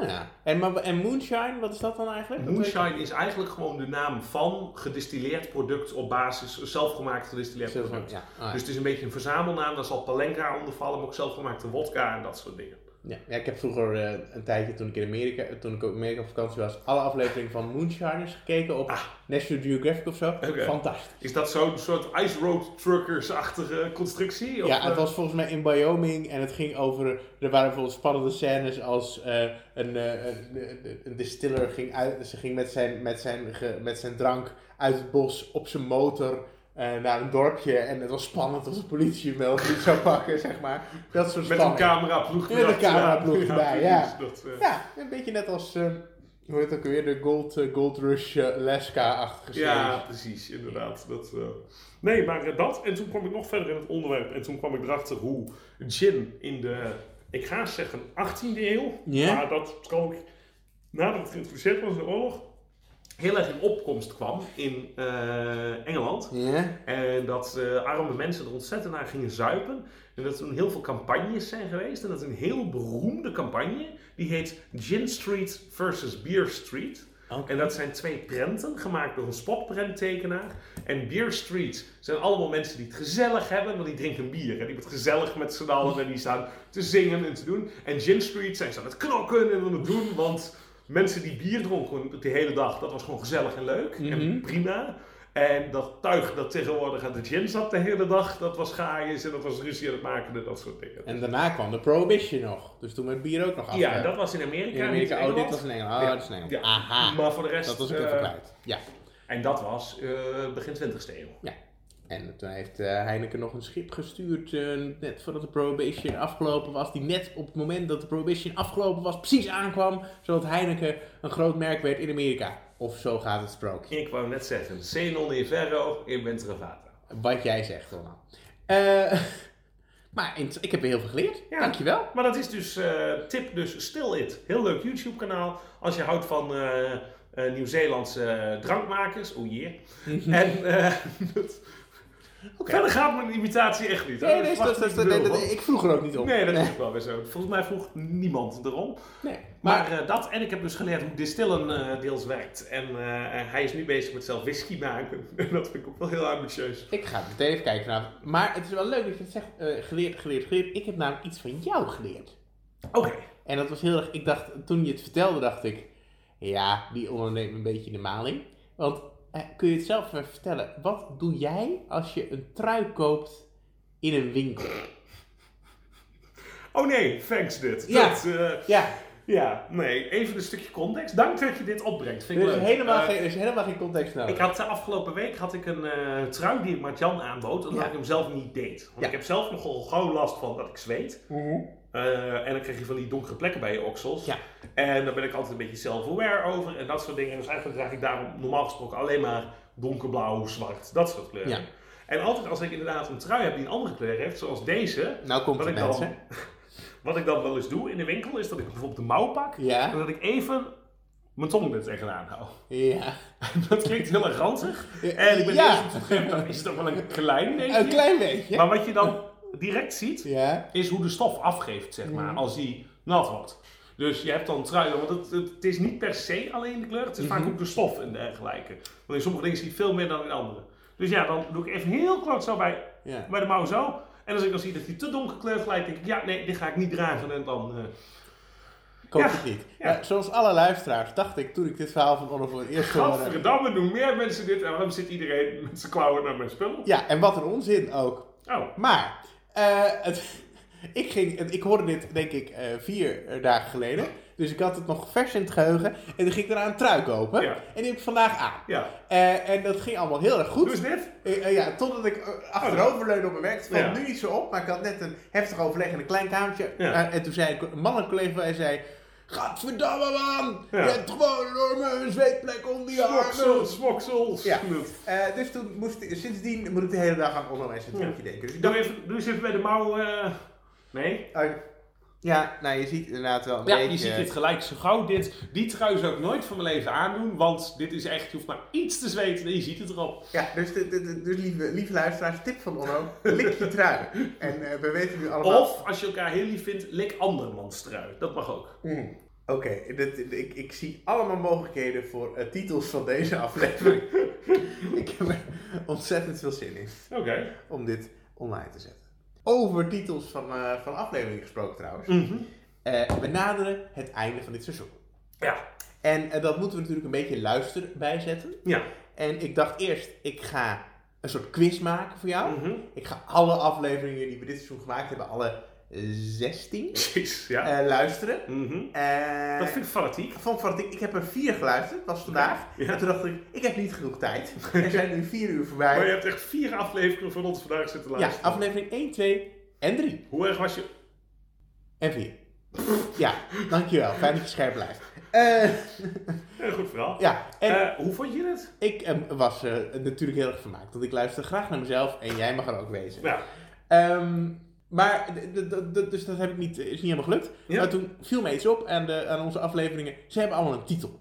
Speaker 2: Ah, ja. En, maar, en moonshine, wat is dat dan eigenlijk? Dat
Speaker 1: Moonshine is eigenlijk gewoon de naam van gedistilleerd product op basis zelfgemaakt gedistilleerd
Speaker 2: weet ik.
Speaker 1: product.
Speaker 2: Ja, ah, ja.
Speaker 1: Dus het is een beetje een verzamelnaam, daar zal Palenka onder vallen, maar ook zelfgemaakte wodka en dat soort dingen.
Speaker 2: Ja, ja, ik heb vroeger eh, een tijdje toen ik in Amerika, eh, toen ik in Amerika op vakantie was, alle afleveringen van Moonshiners gekeken op National Geographic of zo.
Speaker 1: Ah. Oké.
Speaker 2: Fantastisch.
Speaker 1: Is dat zo'n soort Ice Road Truckers-achtige constructie? Of,
Speaker 2: Ja, het
Speaker 1: eh,
Speaker 2: was volgens mij in Wyoming en het ging over. Er waren bijvoorbeeld spannende scènes als eh, een, eh, een, een distiller ging, uit, ze ging met, zijn, met, zijn, ge- met zijn drank uit het bos op zijn motor eh, naar een dorpje. En het was spannend als de politie hem wel of niet zou pakken, zeg maar. Dat soort
Speaker 1: Met een
Speaker 2: spanning.
Speaker 1: cameraploeg
Speaker 2: Met een
Speaker 1: erbij.
Speaker 2: cameraploeg erbij, ja.
Speaker 1: precies, dat, eh.
Speaker 2: Ja, een beetje net als. eh, hoe heet het ook weer? De Gold, eh, Gold Rush eh, Alaska-achtige serie.
Speaker 1: Ja, precies, inderdaad. Dat, eh. Nee, maar eh, dat. En toen kwam ik nog verder in het onderwerp. En toen kwam ik erachter hoe gin in de, ik ga zeggen, 18e eeuw.
Speaker 2: Ja.
Speaker 1: Maar dat kan ook, nadat het geïntroduceerd was in de oorlog, heel erg in opkomst kwam in eh, Engeland.
Speaker 2: Ja?
Speaker 1: En dat eh, arme mensen er ontzettend naar gingen zuipen. En dat er toen heel veel campagnes zijn geweest. En dat is een heel beroemde campagne. Die heet Gin Street versus Beer Street.
Speaker 2: Oké.
Speaker 1: En dat zijn twee prenten gemaakt door een spotprenttekenaar. En Beer Street zijn allemaal mensen die het gezellig hebben, maar die drinken bier. En die het gezellig met z'n allen en die staan te zingen en te doen. En Gin Street zijn ze aan het knokken en aan het doen, want mensen die bier dronken de hele dag, dat was gewoon gezellig en leuk en prima. En dat tuig dat tegenwoordig aan de gin zat de hele dag, dat was gaaiers en dat was ruzie aan het maken en dat soort dingen.
Speaker 2: En daarna kwam de Prohibition nog. Dus toen werd bier ook nog af.
Speaker 1: Ja, dat was in Amerika.
Speaker 2: in
Speaker 1: niet
Speaker 2: Amerika. Oh, dit
Speaker 1: Engeland.
Speaker 2: was in Engeland. Oh,
Speaker 1: Ja.
Speaker 2: dit is in Engeland.
Speaker 1: Ja.
Speaker 2: Aha.
Speaker 1: Maar voor de rest.
Speaker 2: Dat was ik
Speaker 1: eh,
Speaker 2: even kwijt. Ja.
Speaker 1: En dat was eh, begin 20e eeuw.
Speaker 2: ja. En toen heeft eh, Heineken nog een schip gestuurd, eh, net voordat de Prohibition afgelopen was. Die net op het moment dat de Prohibition afgelopen was, precies aankwam. Zodat Heineken een groot merk werd in Amerika. Of zo gaat het sprookje.
Speaker 1: Ik wou net zeggen, se non e verro in Ventravata.
Speaker 2: Wat jij zegt, Ronald. Eh, [laughs] maar in- ik heb weer heel veel geleerd.
Speaker 1: Ja.
Speaker 2: Dankjewel.
Speaker 1: Maar dat is dus eh, tip, dus Still It. Heel leuk YouTube kanaal. Als je houdt van eh, eh, Nieuw-Zeelandse eh, drankmakers. Oh jee. En eh, dat- verder gaat mijn imitatie echt niet.
Speaker 2: Nee, nee, dat, dat, dat-
Speaker 1: nee,
Speaker 2: dat- ik vroeg er ook niet op.
Speaker 1: nee, dat is ook wel weer zo. Volgens mij vroeg niemand erom.
Speaker 2: Nee. Maar,
Speaker 1: Maar eh, dat, en ik heb dus geleerd hoe distillen eh, deels werkt. En eh, hij is nu bezig met zelf whisky maken. [laughs] En dat vind ik ook wel heel ambitieus.
Speaker 2: ik ga het meteen even kijken vanavond. Maar het is wel leuk dat je het zegt, eh, geleerd, geleerd, geleerd. Ik heb namelijk iets van jou geleerd.
Speaker 1: Oké.
Speaker 2: En dat was heel erg, ik dacht, toen je het vertelde, dacht ik, ja, die onderneemt een beetje de maling. Want eh, kun je het zelf even vertellen, wat doe jij als je een trui koopt in een winkel?
Speaker 1: Oh nee, thanks dit.
Speaker 2: Ja.
Speaker 1: Dat, eh,
Speaker 2: Ja,
Speaker 1: ja, nee, even een stukje context. Dank dat je dit opbrengt. Vind ik
Speaker 2: er is
Speaker 1: leuk.
Speaker 2: helemaal,
Speaker 1: Eh,
Speaker 2: geen, er is helemaal geen context nodig.
Speaker 1: Ik had de afgelopen week had ik een eh, trui die ik Martjan aanbood, omdat
Speaker 2: Ja.
Speaker 1: ik hem zelf niet deed. Want
Speaker 2: Ja. Mhm.
Speaker 1: ik heb zelf nogal gauw last van dat ik zweet. Eh, en dan krijg je van die donkere plekken bij je oksels.
Speaker 2: Ja.
Speaker 1: En daar ben ik altijd een beetje self-aware over en dat soort dingen. Dus eigenlijk draag ik daarom normaal gesproken alleen maar donkerblauw, zwart, dat soort kleuren.
Speaker 2: Ja.
Speaker 1: En altijd als ik inderdaad een trui heb die een andere kleur heeft, zoals deze.
Speaker 2: Nou komt
Speaker 1: wat
Speaker 2: het,
Speaker 1: ik dan- [laughs]
Speaker 2: mensen.
Speaker 1: Wat ik dan wel eens doe in de winkel, is dat ik bijvoorbeeld de mouw pak.
Speaker 2: Ja.
Speaker 1: En dat ik even mijn tong er tegenaan hou. [laughs]
Speaker 2: Ja.
Speaker 1: Dat klinkt heel erg ranzig.
Speaker 2: Ja,
Speaker 1: En ik ben
Speaker 2: ja.
Speaker 1: eerst op gegeven moment is het ook wel een klein beetje.
Speaker 2: Een klein beetje.
Speaker 1: Maar wat je dan direct ziet,
Speaker 2: Ja.
Speaker 1: is hoe de stof afgeeft, zeg maar, als die nat wordt. Dus je hebt dan trui, want het, het, het is niet per se alleen de kleur, het is
Speaker 2: Mhm.
Speaker 1: vaak ook de stof en dergelijke. Want in sommige dingen zie je veel meer dan in andere. Dus ja, dan doe ik even heel kort zo bij,
Speaker 2: Ja.
Speaker 1: bij de mouw zo. En als ik dan zie dat die te donker kleur glijdt, denk ik, ja, nee, dit ga ik niet dragen. En dan, eh,
Speaker 2: Komt
Speaker 1: Ja.
Speaker 2: het niet.
Speaker 1: Ja.
Speaker 2: Maar zoals alle luisteraars dacht ik toen ik dit verhaal van Onno voor het eerst hoorde.
Speaker 1: gadverdamme, doen meer mensen dit en waarom zit iedereen met zijn klauwen naar mijn spullen?
Speaker 2: Ja, en wat een onzin ook.
Speaker 1: Oh,
Speaker 2: Maar, eh, het, [laughs] ik, ging, het- ik hoorde dit denk ik eh, vier eh, dagen geleden. Dus ik had het nog vers in het geheugen. En toen ging ik daarna een trui kopen.
Speaker 1: Ja.
Speaker 2: En die heb ik vandaag aan.
Speaker 1: ja. Dus
Speaker 2: Eh, en dat ging allemaal heel erg goed.
Speaker 1: Doe eens dit.
Speaker 2: Eh, eh, ja, totdat ik eh, achteroverleunde op mijn werk. Het valt
Speaker 1: Ja.
Speaker 2: nu niet zo op, maar ik had net een heftig overleg in een klein kamertje.
Speaker 1: Ja.
Speaker 2: Eh, en toen zei ik- een mannelijk collega van mij zei... Gadverdamme man,
Speaker 1: Ja.
Speaker 2: je hebt gewoon een enorme zweetplek onder je armen.
Speaker 1: Smoksels, smoksels.
Speaker 2: nou. Ja.
Speaker 1: Goed.
Speaker 2: Eh, dus toen moest ik- sindsdien moet ik de hele dag aan Onno en zijn trucje denken. Dus ik
Speaker 1: Doe,
Speaker 2: dacht,
Speaker 1: even, doe eens even bij de mouw. eh, Nee?
Speaker 2: eh, ja, nou je ziet inderdaad wel een
Speaker 1: Ja,
Speaker 2: beetje...
Speaker 1: je ziet dit gelijk zo gauw. Dit, die trui zou ik nooit van mijn leven aandoen, want dit is echt, je hoeft maar iets te zweten en je ziet het erop.
Speaker 2: Ja, dus, dit- dit- dit- dus lieve, lieve luisteraars, tip van Onno, lik je
Speaker 1: [laughs]
Speaker 2: trui. En eh, we weten nu allemaal...
Speaker 1: Of, als je elkaar heel lief vindt, lik andermans trui. Dat mag ook.
Speaker 2: Mm. Oké, dit- ik, ik zie allemaal mogelijkheden voor eh, titels van deze [laughs] aflevering. ik heb er ontzettend veel zin in
Speaker 1: Oké.
Speaker 2: om dit online te zetten. Over titels van, eh, van afleveringen gesproken trouwens.
Speaker 1: Mm.
Speaker 2: Eh, we naderen het einde van dit seizoen.
Speaker 1: Ja.
Speaker 2: En eh, dat moeten we natuurlijk een beetje luister bijzetten.
Speaker 1: Ja.
Speaker 2: En ik dacht eerst, ik ga een soort quiz maken voor jou.
Speaker 1: Mhm.
Speaker 2: Ik ga alle afleveringen die we dit seizoen gemaakt hebben, alle 16,
Speaker 1: Precies, ja.
Speaker 2: eh, luisteren.
Speaker 1: Mhm.
Speaker 2: Eh,
Speaker 1: Dat vind ik fanatiek.
Speaker 2: van Fanatiek. Ik heb er vier geluisterd, was vandaag.
Speaker 1: Ja.
Speaker 2: En eh, toen dacht ik, ik heb niet genoeg tijd. Er zijn nu vier uur voorbij.
Speaker 1: Maar je hebt echt vier afleveringen van ons vandaag zitten
Speaker 2: ja,
Speaker 1: luisteren.
Speaker 2: aflevering 1, 2 en 3.
Speaker 1: Hoe erg was je...
Speaker 2: En
Speaker 1: [laughs]
Speaker 2: 4. Ja, dankjewel. Fijn dat je scherp blijft. Eh, [laughs]
Speaker 1: Een goed verhaal.
Speaker 2: ja, en
Speaker 1: Eh, hoe vond je het?
Speaker 2: ik eh, was eh, natuurlijk heel erg vermaakt. Want ik luister graag naar mezelf en jij mag er ook wezen.
Speaker 1: Ja.
Speaker 2: Ehm, maar, d- d- d- dus dat heb ik niet, is niet helemaal gelukt.
Speaker 1: Ja.
Speaker 2: Maar toen viel me iets op aan, de, aan onze afleveringen. Ze hebben allemaal een titel.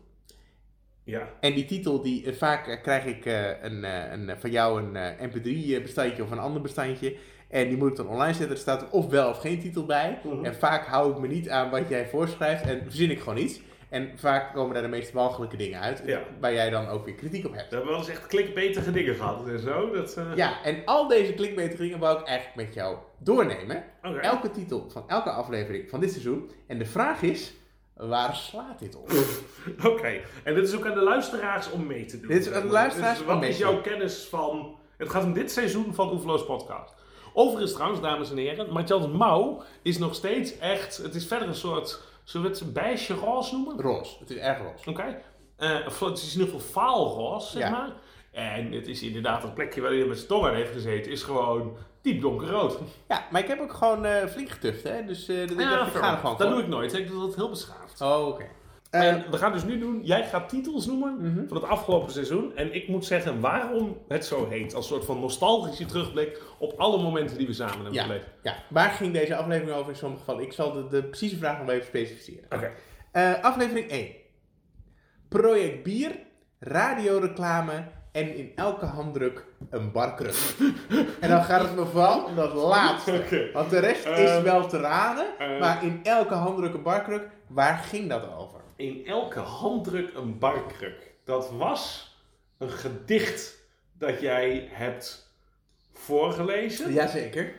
Speaker 1: Ja.
Speaker 2: En die titel, die, eh, vaak eh, krijg ik eh, een, eh, een, eh, van jou een mp3-bestandje of een ander eh, bestandje. En die moet ik dan online zetten. Er staat er of wel of geen titel bij.
Speaker 1: Mhm.
Speaker 2: En vaak hou ik me niet aan wat jij voorschrijft en verzin ik gewoon iets. En vaak komen daar de meest walgelijke dingen uit,
Speaker 1: Ja.
Speaker 2: waar jij dan ook weer kritiek op hebt.
Speaker 1: We hebben wel eens echt klikbetige dingen gehad en zo. Dat, eh,
Speaker 2: Ja, en al deze klikbetegingen wou ik eigenlijk met jou doornemen.
Speaker 1: Oké.
Speaker 2: Elke titel van elke aflevering van dit seizoen. En de vraag is, waar slaat dit
Speaker 1: [laughs]
Speaker 2: op?
Speaker 1: [laughs] Oké, en dit is ook aan de luisteraars om mee te doen.
Speaker 2: Dit is aan de luisteraars
Speaker 1: Dus
Speaker 2: om
Speaker 1: Wat
Speaker 2: mee
Speaker 1: is
Speaker 2: te doen.
Speaker 1: jouw kennis van... Het gaat om dit seizoen van Oeverloos Podcast. Overigens trouwens, dames en heren, Martjans Mouw is nog steeds echt... Het is verder een soort... Zullen we het beige roze noemen?
Speaker 2: roze. Het is erg roze.
Speaker 1: Oké. Eh, of het is in ieder geval faalroze, zeg
Speaker 2: Ja.
Speaker 1: maar. En het is inderdaad het plekje waar hij met zijn tong aan heeft gezeten. Is gewoon diep donkerrood.
Speaker 2: Ja, maar ik heb ook gewoon eh, flink getuft, hè. Dus eh dat ik dacht, ik ga er gewoon
Speaker 1: dat
Speaker 2: voor.
Speaker 1: doe ik nooit. hè. Ik doe dat heel beschaafd.
Speaker 2: Oh, oké. Eh,
Speaker 1: En we gaan dus nu doen, jij gaat titels noemen
Speaker 2: Mhm.
Speaker 1: van het afgelopen seizoen. En ik moet zeggen waarom het zo heet. Als soort van nostalgische terugblik op alle momenten die we samen hebben
Speaker 2: ja,
Speaker 1: beleefd.
Speaker 2: ja, waar ging deze aflevering over in sommige gevallen? Ik zal de, de precieze vraag nog even specificeren.
Speaker 1: Oké.
Speaker 2: Eh, aflevering 1. Project Bier, radioreclame en in elke handdruk een barkruk. en dan gaat het me vooral om dat laatste.
Speaker 1: [laughs] Oké.
Speaker 2: Want de rest
Speaker 1: Eh,
Speaker 2: is wel te raden,
Speaker 1: eh.
Speaker 2: maar in elke handdruk een barkruk, waar ging dat over?
Speaker 1: In elke handdruk een barkruk. Dat was een gedicht dat jij hebt voorgelezen.
Speaker 2: Jazeker.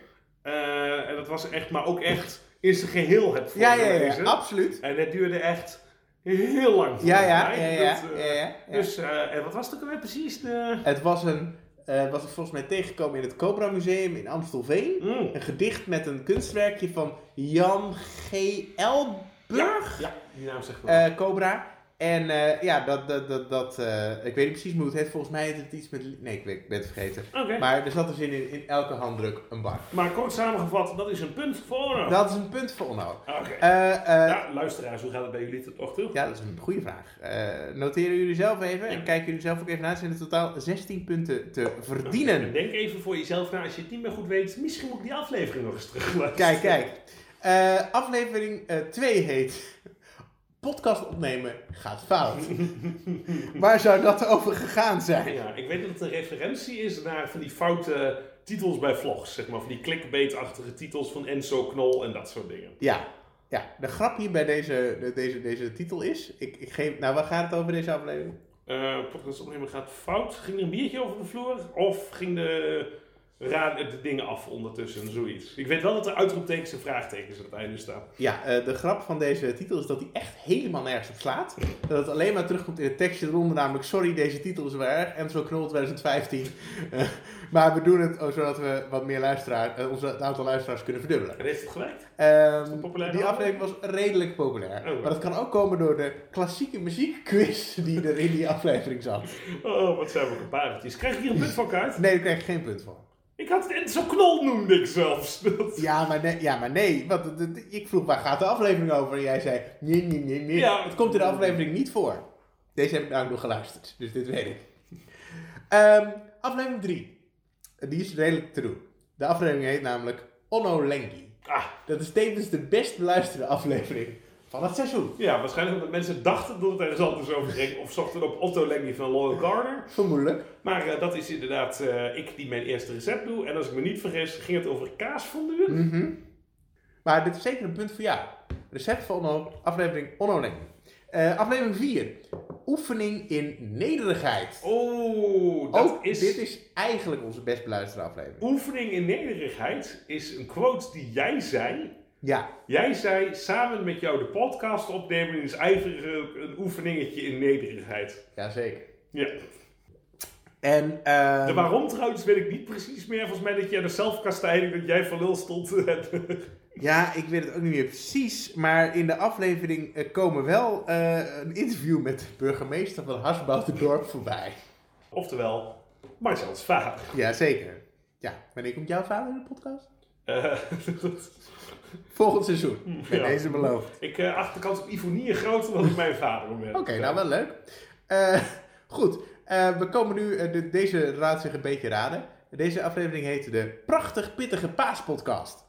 Speaker 1: Eh, en dat was echt, maar ook echt in zijn geheel hebt
Speaker 2: Ja,
Speaker 1: voorgelezen.
Speaker 2: ja, ja, ja, absoluut.
Speaker 1: En het duurde echt heel lang. volgens
Speaker 2: Ja, ja, ja,
Speaker 1: mij.
Speaker 2: ja.
Speaker 1: Dat,
Speaker 2: ja,
Speaker 1: eh,
Speaker 2: ja, ja.
Speaker 1: Dus, eh, en wat was het ook alweer precies? De...
Speaker 2: Het was een, eh was ik volgens mij tegengekomen in het Cobra Museum in Amstelveen.
Speaker 1: Mm.
Speaker 2: Een gedicht met een kunstwerkje van Jan G. Elburg.
Speaker 1: Ja, die naam zegt wel.
Speaker 2: eh, Cobra. En eh, ja, dat, dat, dat, dat eh, ik weet niet precies hoe het heet. Volgens mij heet het iets met... li- Nee, ik, weet, ik ben het vergeten.
Speaker 1: Oké.
Speaker 2: Maar er zat dus in, in, in elke handdruk een bar.
Speaker 1: Maar kort samengevat, dat is een punt voor Onno.
Speaker 2: Dat is een punt voor Onno.
Speaker 1: Oké.
Speaker 2: Eh, eh,
Speaker 1: ja, luisteraars, hoe gaat het bij jullie tot nog toe?
Speaker 2: ja, dat is een goede vraag. Eh, noteren jullie zelf even en kijken jullie zelf ook even na. Er zijn in totaal 16 punten te verdienen.
Speaker 1: Denk even voor jezelf na, als je het niet meer goed weet, misschien moet ik die aflevering nog eens terugluisteren.
Speaker 2: Kijk, kijk. Eh, aflevering 2 heet... Podcast opnemen gaat fout. Waar zou dat over gegaan zijn?
Speaker 1: Ja, ik weet dat het een referentie is naar van die foute titels bij vlogs, zeg maar. Van die clickbait-achtige titels van Enzo Knol en dat soort dingen.
Speaker 2: Ja, ja. De grap hier bij deze, de- deze, deze titel is. Ik, ik geef, nou, waar gaat het over deze aflevering?
Speaker 1: Eh podcast opnemen gaat fout. Ging er een biertje over de vloer? Of ging de, ra- de dingen af ondertussen? Zoiets. Ik weet wel dat er uitroeptekens en vraagtekens aan het einde staan.
Speaker 2: Ja, eh, de grap van deze titel is dat hij echt helemaal nergens op slaat. Dat het alleen maar terugkomt in het tekstje eronder, namelijk: Sorry, deze titel is wel erg. Enzo Knol 2015. [laughs] Eh, maar we doen het oh, zodat we wat meer luisteraars, eh, onze, het aantal luisteraars kunnen verdubbelen.
Speaker 1: En heeft het gewerkt?
Speaker 2: Ehm,
Speaker 1: een populaire
Speaker 2: die aflevering was redelijk populair.
Speaker 1: Oh.
Speaker 2: Maar dat kan ook komen door de klassieke muziekquiz die er in die aflevering zat.
Speaker 1: Oh, wat zijn we geparentjes. Krijg ik hier een punt van kaart?
Speaker 2: Nee, daar krijg ik geen punt voor.
Speaker 1: Ik had het Enzo Knol noemde ik zelfs. [laughs] Dat-
Speaker 2: Ja, maar nee. Ja, maar nee want het- het- ik vroeg waar gaat de aflevering over? En jij zei nee, nee, nee, nee.
Speaker 1: Ja.
Speaker 2: het komt in de aflevering niet voor. Deze heb ik nou ook nog geluisterd, dus dit weet ik. Ehm, aflevering 3. Die is redelijk te doen. De aflevering heet namelijk Onno Lengi.
Speaker 1: Ah,
Speaker 2: Dat is tevens de best beluisterde aflevering van het seizoen.
Speaker 1: ja, waarschijnlijk omdat mensen dachten dat het ergens anders over ging. Of zochten op Otto Lengi van Loyal Garner.
Speaker 2: Vermoedelijk.
Speaker 1: Maar eh, dat is inderdaad eh, ik die mijn eerste recept doe. En als ik me niet vergis, ging het over kaasfondue.
Speaker 2: Maar dit is zeker een punt voor jou. Recept van Onno, aflevering Onno Lengi. Eh, aflevering 4. Oefening in nederigheid.
Speaker 1: Oh, dat
Speaker 2: Ook
Speaker 1: is...
Speaker 2: dit is eigenlijk onze best beluisterde aflevering.
Speaker 1: Oefening in nederigheid is een quote die jij zei.
Speaker 2: Ja,
Speaker 1: Jij zei samen met jou de podcast opnemen is eigenlijk een een oefeningetje in nederigheid.
Speaker 2: jazeker.
Speaker 1: Ja.
Speaker 2: En, ehm,
Speaker 1: De waarom trouwens weet ik niet precies meer. Volgens mij dat jij de zelfkastijding dat jij van lul stond. [laughs]
Speaker 2: ja, ik weet het ook niet meer precies, maar in de aflevering eh, komen wel eh, een interview met de burgemeester van Hasbouterdorp voorbij.
Speaker 1: Oftewel, Marcel's vader.
Speaker 2: Jazeker. Ja, wanneer komt jouw vader in de podcast?
Speaker 1: Eh, [laughs]
Speaker 2: Volgend [laughs] seizoen, met
Speaker 1: ja.
Speaker 2: deze beloofd.
Speaker 1: ik eh acht de kans op Ivonie groter dan op mijn vader. op het moment.
Speaker 2: Oké, nou wel leuk. Eh, [laughs] goed, eh, we komen nu, eh, de- deze laat zich een beetje raden. Deze aflevering heette de Prachtig Pittige Paaspodcast.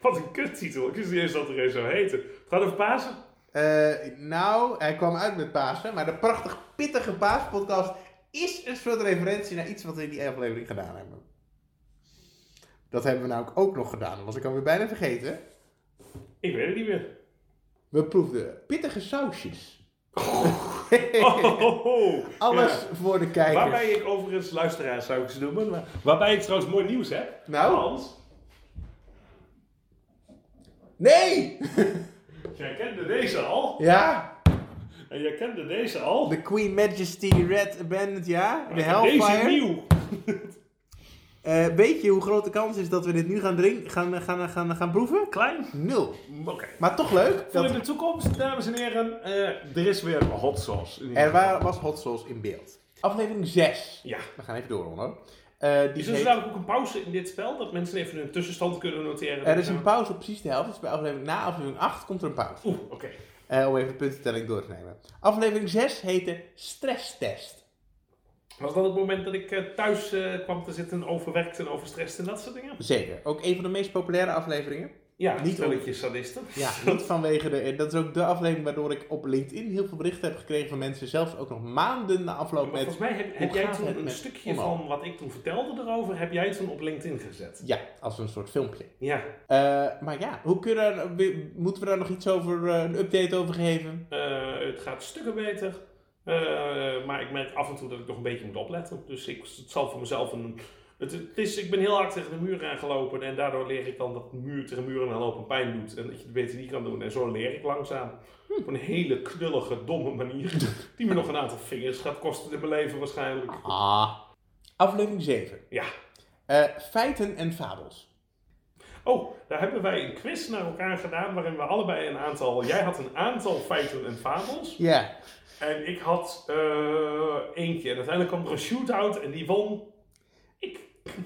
Speaker 1: Wat een kuttitel. Ik wist niet eens dat er een zou heten. Het gaat over Pasen.
Speaker 2: Eh, nou, hij kwam uit met Pasen, maar de prachtig pittige Paaspodcast is een soort referentie naar iets wat we in die aflevering gedaan hebben. nou Dat hebben we namelijk ook nog gedaan, dat was ik alweer bijna vergeten. [laughs]
Speaker 1: Ik weet het niet meer.
Speaker 2: We proefden pittige sausjes.
Speaker 1: [laughs] Oh, oh, oh.
Speaker 2: [laughs] Alles
Speaker 1: Ja.
Speaker 2: voor de kijkers.
Speaker 1: Waarbij ik overigens, luisteraars zou ik ze noemen, maar waarbij ik trouwens mooi nieuws heb.
Speaker 2: Nou?
Speaker 1: Hans,
Speaker 2: Nee! [laughs]
Speaker 1: jij kende deze al.
Speaker 2: ja?
Speaker 1: En jij kende deze al.
Speaker 2: De Queen Majesty Red Abandoned, ja? De
Speaker 1: Deze
Speaker 2: Hellfire.
Speaker 1: nieuw.
Speaker 2: Eh weet je hoe groot de kans is dat we dit nu gaan, drink, gaan, gaan, gaan, gaan proeven?
Speaker 1: Klein.
Speaker 2: Nul.
Speaker 1: Oké.
Speaker 2: Maar toch leuk.
Speaker 1: Voor
Speaker 2: Mm, Dat
Speaker 1: in de toekomst, dames en heren, eh, er is weer hot sauce.
Speaker 2: er wa- was hot sauce in beeld. Aflevering 6.
Speaker 1: Ja.
Speaker 2: We gaan even door, hoor. Eh, die
Speaker 1: Is er
Speaker 2: heet-
Speaker 1: namelijk ook een pauze in dit spel, dat mensen even een tussenstand kunnen noteren?
Speaker 2: Eh, er is een pauze op precies de helft. Dus bij aflevering, na aflevering 8 komt er een pauze.
Speaker 1: Oeh, oké.
Speaker 2: Eh, om even de puntentelling door te nemen. Aflevering 6 heette Stresstest.
Speaker 1: Was dat het moment dat ik eh, thuis eh, kwam te zitten, overwerkt en overstrest en dat soort dingen?
Speaker 2: Zeker. Ook een van de meest populaire afleveringen.
Speaker 1: Ja,
Speaker 2: Niet
Speaker 1: niet spelletje sadisten.
Speaker 2: Ja,
Speaker 1: [laughs]
Speaker 2: [laughs] niet vanwege de. en Dat is ook de aflevering waardoor ik op LinkedIn heel veel berichten heb gekregen van mensen, zelfs ook nog maanden na afloop
Speaker 1: Maar volgens
Speaker 2: met.
Speaker 1: mij heb, heb
Speaker 2: hoe
Speaker 1: jij
Speaker 2: gaat
Speaker 1: toen
Speaker 2: het
Speaker 1: een
Speaker 2: met
Speaker 1: stukje
Speaker 2: Onno?
Speaker 1: van wat ik toen vertelde erover, heb jij toen op LinkedIn gezet.
Speaker 2: Ja, als een soort filmpje.
Speaker 1: Ja.
Speaker 2: Eh, maar ja, hoe kunnen we daar- moeten we daar nog iets over, eh, een update over geven?
Speaker 1: Eh, het gaat stukken beter. Eh, maar ik merk af en toe dat ik nog een beetje moet opletten. Dus ik, het zal voor mezelf een. Het, het is, ik ben heel hard tegen de muur aangelopen. En daardoor leer ik dan dat muur tegen muur aanlopen pijn doet. En dat je het beter niet kan doen. En zo leer ik langzaam.
Speaker 2: Hm.
Speaker 1: Op een hele knullige, domme
Speaker 2: [laughs]
Speaker 1: manier. Die me nog een aantal vingers gaat kosten te beleven waarschijnlijk.
Speaker 2: Ah. Aflevering 7.
Speaker 1: Ja.
Speaker 2: Eh, feiten en fabels.
Speaker 1: Oh, daar hebben wij een quiz naar elkaar gedaan. Waarin we allebei een aantal. Jij had een aantal feiten en fabels.
Speaker 2: Ja.
Speaker 1: En ik had eh, eentje. En uiteindelijk kwam er een shootout en die won. Ik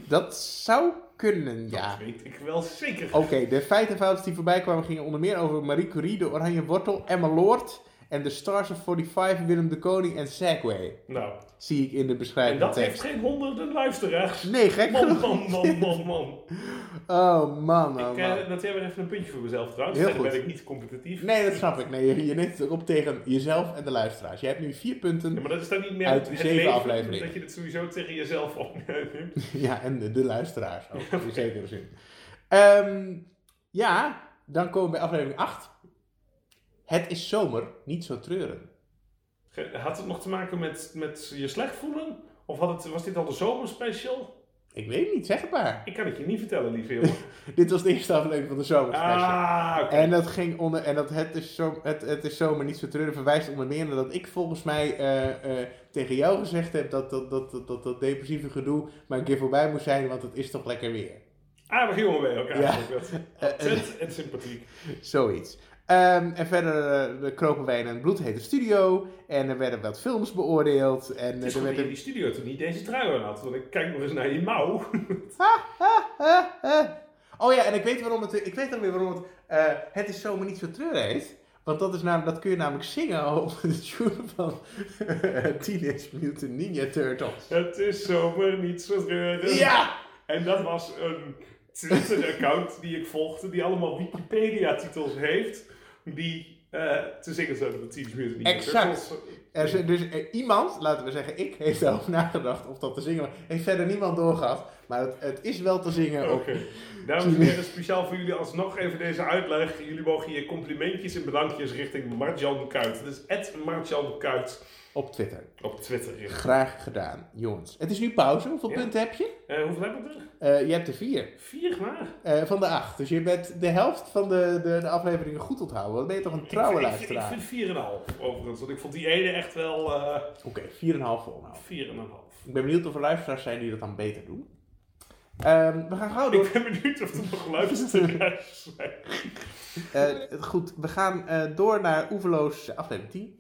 Speaker 2: Dat zou kunnen, ja.
Speaker 1: weet ik wel zeker.
Speaker 2: Oké, de feiten en fabels die voorbij kwamen gingen onder meer over Marie Curie, de Oranje Wortel, Emma Lord en de Stars of 45, Willem de Koning en Segway.
Speaker 1: Nou,
Speaker 2: Zie ik in de
Speaker 1: en
Speaker 2: beschrijving.
Speaker 1: dat
Speaker 2: tekst.
Speaker 1: heeft geen honderden luisteraars.
Speaker 2: Nee, gek
Speaker 1: Man,
Speaker 2: genoeg.
Speaker 1: man, man, man, man.
Speaker 2: Oh man, oh
Speaker 1: Ik
Speaker 2: man.
Speaker 1: eh, noteer weer even een puntje voor mezelf trouwens.
Speaker 2: Heel
Speaker 1: Verder
Speaker 2: goed.
Speaker 1: ben ik niet competitief.
Speaker 2: Nee, dat snap ik. Nee, je, je neemt het ook op tegen jezelf en de luisteraars. Je hebt nu vier
Speaker 1: Ja,
Speaker 2: punten.
Speaker 1: maar dat is dan niet meer
Speaker 2: Uit de zeven afleveringen.
Speaker 1: dat je het sowieso tegen jezelf [laughs] opneemt.
Speaker 2: [laughs] Ja, en de, de luisteraars ook, in zekere zin. Ehm, ja, dan komen we bij aflevering 8. Het is zomer, niet zo treuren.
Speaker 1: Had het nog te maken met, met je slecht voelen? Of had het, was dit al de zomerspecial?
Speaker 2: Ik weet niet, zeg het maar.
Speaker 1: Ik kan het je niet vertellen, lieve
Speaker 2: [laughs]
Speaker 1: jongen.
Speaker 2: Dit was de eerste aflevering van de zomerspecial.
Speaker 1: Ah, oké.
Speaker 2: En dat ging onder. En dat het is, zo, het, het is zomaar niet zo treurig verwijst onder meer dat ik volgens mij eh, eh, tegen jou gezegd heb dat dat, dat, dat, dat dat depressieve gedoe maar een keer voorbij moest zijn, want het is toch lekker weer.
Speaker 1: Aardig jongen bij elkaar.
Speaker 2: Ja. [laughs]
Speaker 1: Ja. Attent en sympathiek.
Speaker 2: Zoiets. Ehm, en verder eh, kropen wij in een bloedhete studio en er werden wat films beoordeeld. En
Speaker 1: Het is
Speaker 2: eh, er
Speaker 1: goed
Speaker 2: werd
Speaker 1: dat je
Speaker 2: een...
Speaker 1: die studio toen niet deze trui aan had. Want ik kijk nog eens naar die mouw. [laughs]
Speaker 2: Ha, ha. Oh ja, en ik weet, waarom het, ik weet dan weer waarom het eh, Het is zomaar niet zo treurig heet. Want dat, is namelijk, dat kun je namelijk zingen op de tune van [laughs] Teenage Mutant Ninja Turtles.
Speaker 1: Het is zomaar niet zo treurig.
Speaker 2: Ja!
Speaker 1: En dat was een Twitter-account die ik volgde. Die allemaal Wikipedia-titels heeft. Die eh, te zingen zijn op de Teenage Mutant Ninja
Speaker 2: Exact.
Speaker 1: Turtles.
Speaker 2: Er is, dus eh, iemand, laten we zeggen ik, heeft erover [laughs] nagedacht of dat te zingen was. Heeft verder niemand doorgehad. Maar het, het is wel te zingen.
Speaker 1: Oké.
Speaker 2: op-
Speaker 1: Dames en heren, speciaal voor jullie alsnog even deze uitleg. Jullie mogen je complimentjes en bedankjes richting Marjan Kuit. Dus at Marjan Kuit
Speaker 2: Op Twitter.
Speaker 1: op Twitter richten.
Speaker 2: Graag gedaan, jongens. Het is nu pauze. Hoeveel
Speaker 1: Ja.
Speaker 2: punten heb je?
Speaker 1: Eh, hoeveel hebben we er?
Speaker 2: Eh, je hebt er vier.
Speaker 1: Vier maar.
Speaker 2: eh, van de acht. Dus je bent de helft van de, de, de afleveringen goed onthouden. Dan ben je toch een
Speaker 1: Ik
Speaker 2: trouwe
Speaker 1: vind- ik vind-
Speaker 2: luisteraar.
Speaker 1: Ik vind 4,5 overigens, want ik vond die ene echt wel eh
Speaker 2: Oké, vier en een half volhouden.
Speaker 1: 4,5.
Speaker 2: Ik ben benieuwd of er luisteraars zijn die dat dan beter doen. Ehm, we gaan gauw door.
Speaker 1: Ik ben benieuwd of er nog
Speaker 2: [laughs]
Speaker 1: luisteraars zijn.
Speaker 2: Eh, goed, we gaan eh, door naar Oeverloos aflevering 10.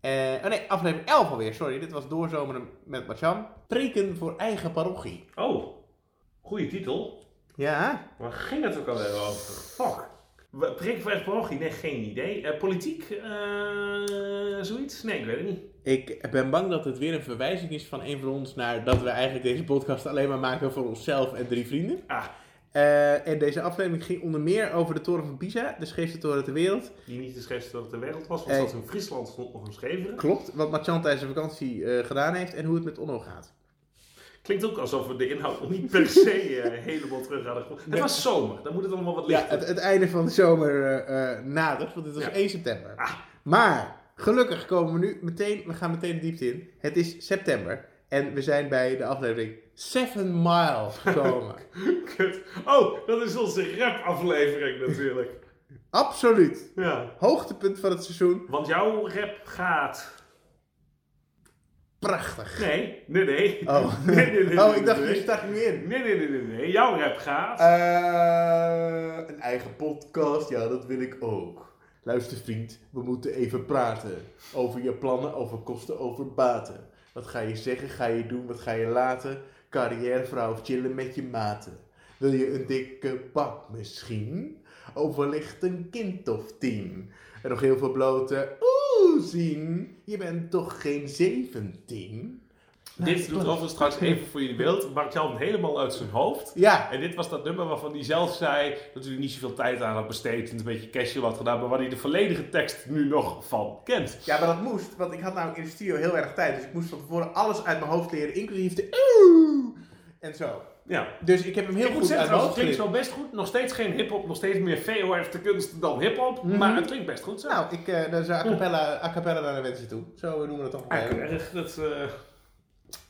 Speaker 2: Eh, oh nee, aflevering 11 alweer, sorry. Dit was Doorzomeren met Marcham. Preken voor eigen parochie.
Speaker 1: Oh, goede titel.
Speaker 2: Ja,
Speaker 1: Waar ging het ook alweer over? Fuck. Wa- Prik voor parochie? Nee, geen idee. Eh, politiek? Eh, zoiets? Nee, ik weet het niet.
Speaker 2: ik ben bang dat het weer een verwijzing is van een van ons naar dat we eigenlijk deze podcast alleen maar maken voor onszelf en drie vrienden.
Speaker 1: Ah,
Speaker 2: Eh, en deze aflevering ging onder meer over de Toren van Pisa, de scheefste toren ter wereld.
Speaker 1: die niet de schrijfster ter wereld was, want
Speaker 2: Hey.
Speaker 1: zelfs in Friesland stond nog een scheveren.
Speaker 2: Klopt, wat Marchand tijdens zijn vakantie eh, gedaan heeft en hoe het met Onno gaat.
Speaker 1: Klinkt ook alsof we de inhoud nog niet per se eh, helemaal terug hadden. gevonden. Het was zomer, dan moet het allemaal wat
Speaker 2: Ja,
Speaker 1: lichter.
Speaker 2: het, het einde van de zomer eh, eh, nadert, want het was
Speaker 1: Ja.
Speaker 2: 1 september.
Speaker 1: Ah.
Speaker 2: Maar gelukkig komen we nu meteen, we gaan meteen de diepte in. Het is september en we zijn bij de aflevering Seven Mile
Speaker 1: [laughs]
Speaker 2: gekomen.
Speaker 1: Kut. Oh, dat is onze rap-aflevering natuurlijk.
Speaker 2: [laughs] Absoluut.
Speaker 1: Ja.
Speaker 2: Hoogtepunt van het seizoen.
Speaker 1: Want jouw rap gaat.
Speaker 2: Prachtig.
Speaker 1: Nee, nee, nee.
Speaker 2: Oh,
Speaker 1: [laughs] Nee, nee, nee,
Speaker 2: oh
Speaker 1: nee,
Speaker 2: ik dacht,
Speaker 1: nee.
Speaker 2: je stak nu in.
Speaker 1: Nee, nee, nee, nee, nee. Jouw rap gaat.
Speaker 2: Eh, een eigen podcast, ja, dat wil ik ook. Luister vriend, we moeten even praten. Over je plannen, over kosten, over baten. Wat ga je zeggen, ga je doen, wat ga je laten? Carrièrevrouw of chillen met je maten? Wil je een dikke bak misschien? Of wellicht een kind of tien? En nog heel veel blote oeh zien. Je bent toch geen zeventien?
Speaker 1: Dit doet overigens straks even voor jullie beeld. Bart Jan helemaal uit zijn hoofd.
Speaker 2: Ja,
Speaker 1: En dit was dat nummer waarvan hij zelf zei dat hij er niet zoveel tijd aan had besteed en een beetje casual had gedaan, maar waar hij de volledige tekst nu nog van kent.
Speaker 2: Ja, maar dat moest, want ik had namelijk in de studio heel erg tijd. Dus ik moest van tevoren alles uit mijn hoofd leren, inclusief de oeh en zo.
Speaker 1: Ja.
Speaker 2: Dus ik heb hem heel
Speaker 1: ik moet
Speaker 2: goed
Speaker 1: zeggen,
Speaker 2: uit
Speaker 1: trouwens,
Speaker 2: mijn
Speaker 1: het klinkt
Speaker 2: hoofd geleerd.
Speaker 1: zo best goed. Nog steeds geen hip-hop, nog steeds meer VOF de kunst dan hip-hop, maar het klinkt best goed zo.
Speaker 2: Mhm. Nou, ik, eh dan zou a cappella, a cappella naar de wensje toe. Zo noemen we dat toch.
Speaker 1: Eigenlijk
Speaker 2: Eh,
Speaker 1: Ah, erg dat. eh,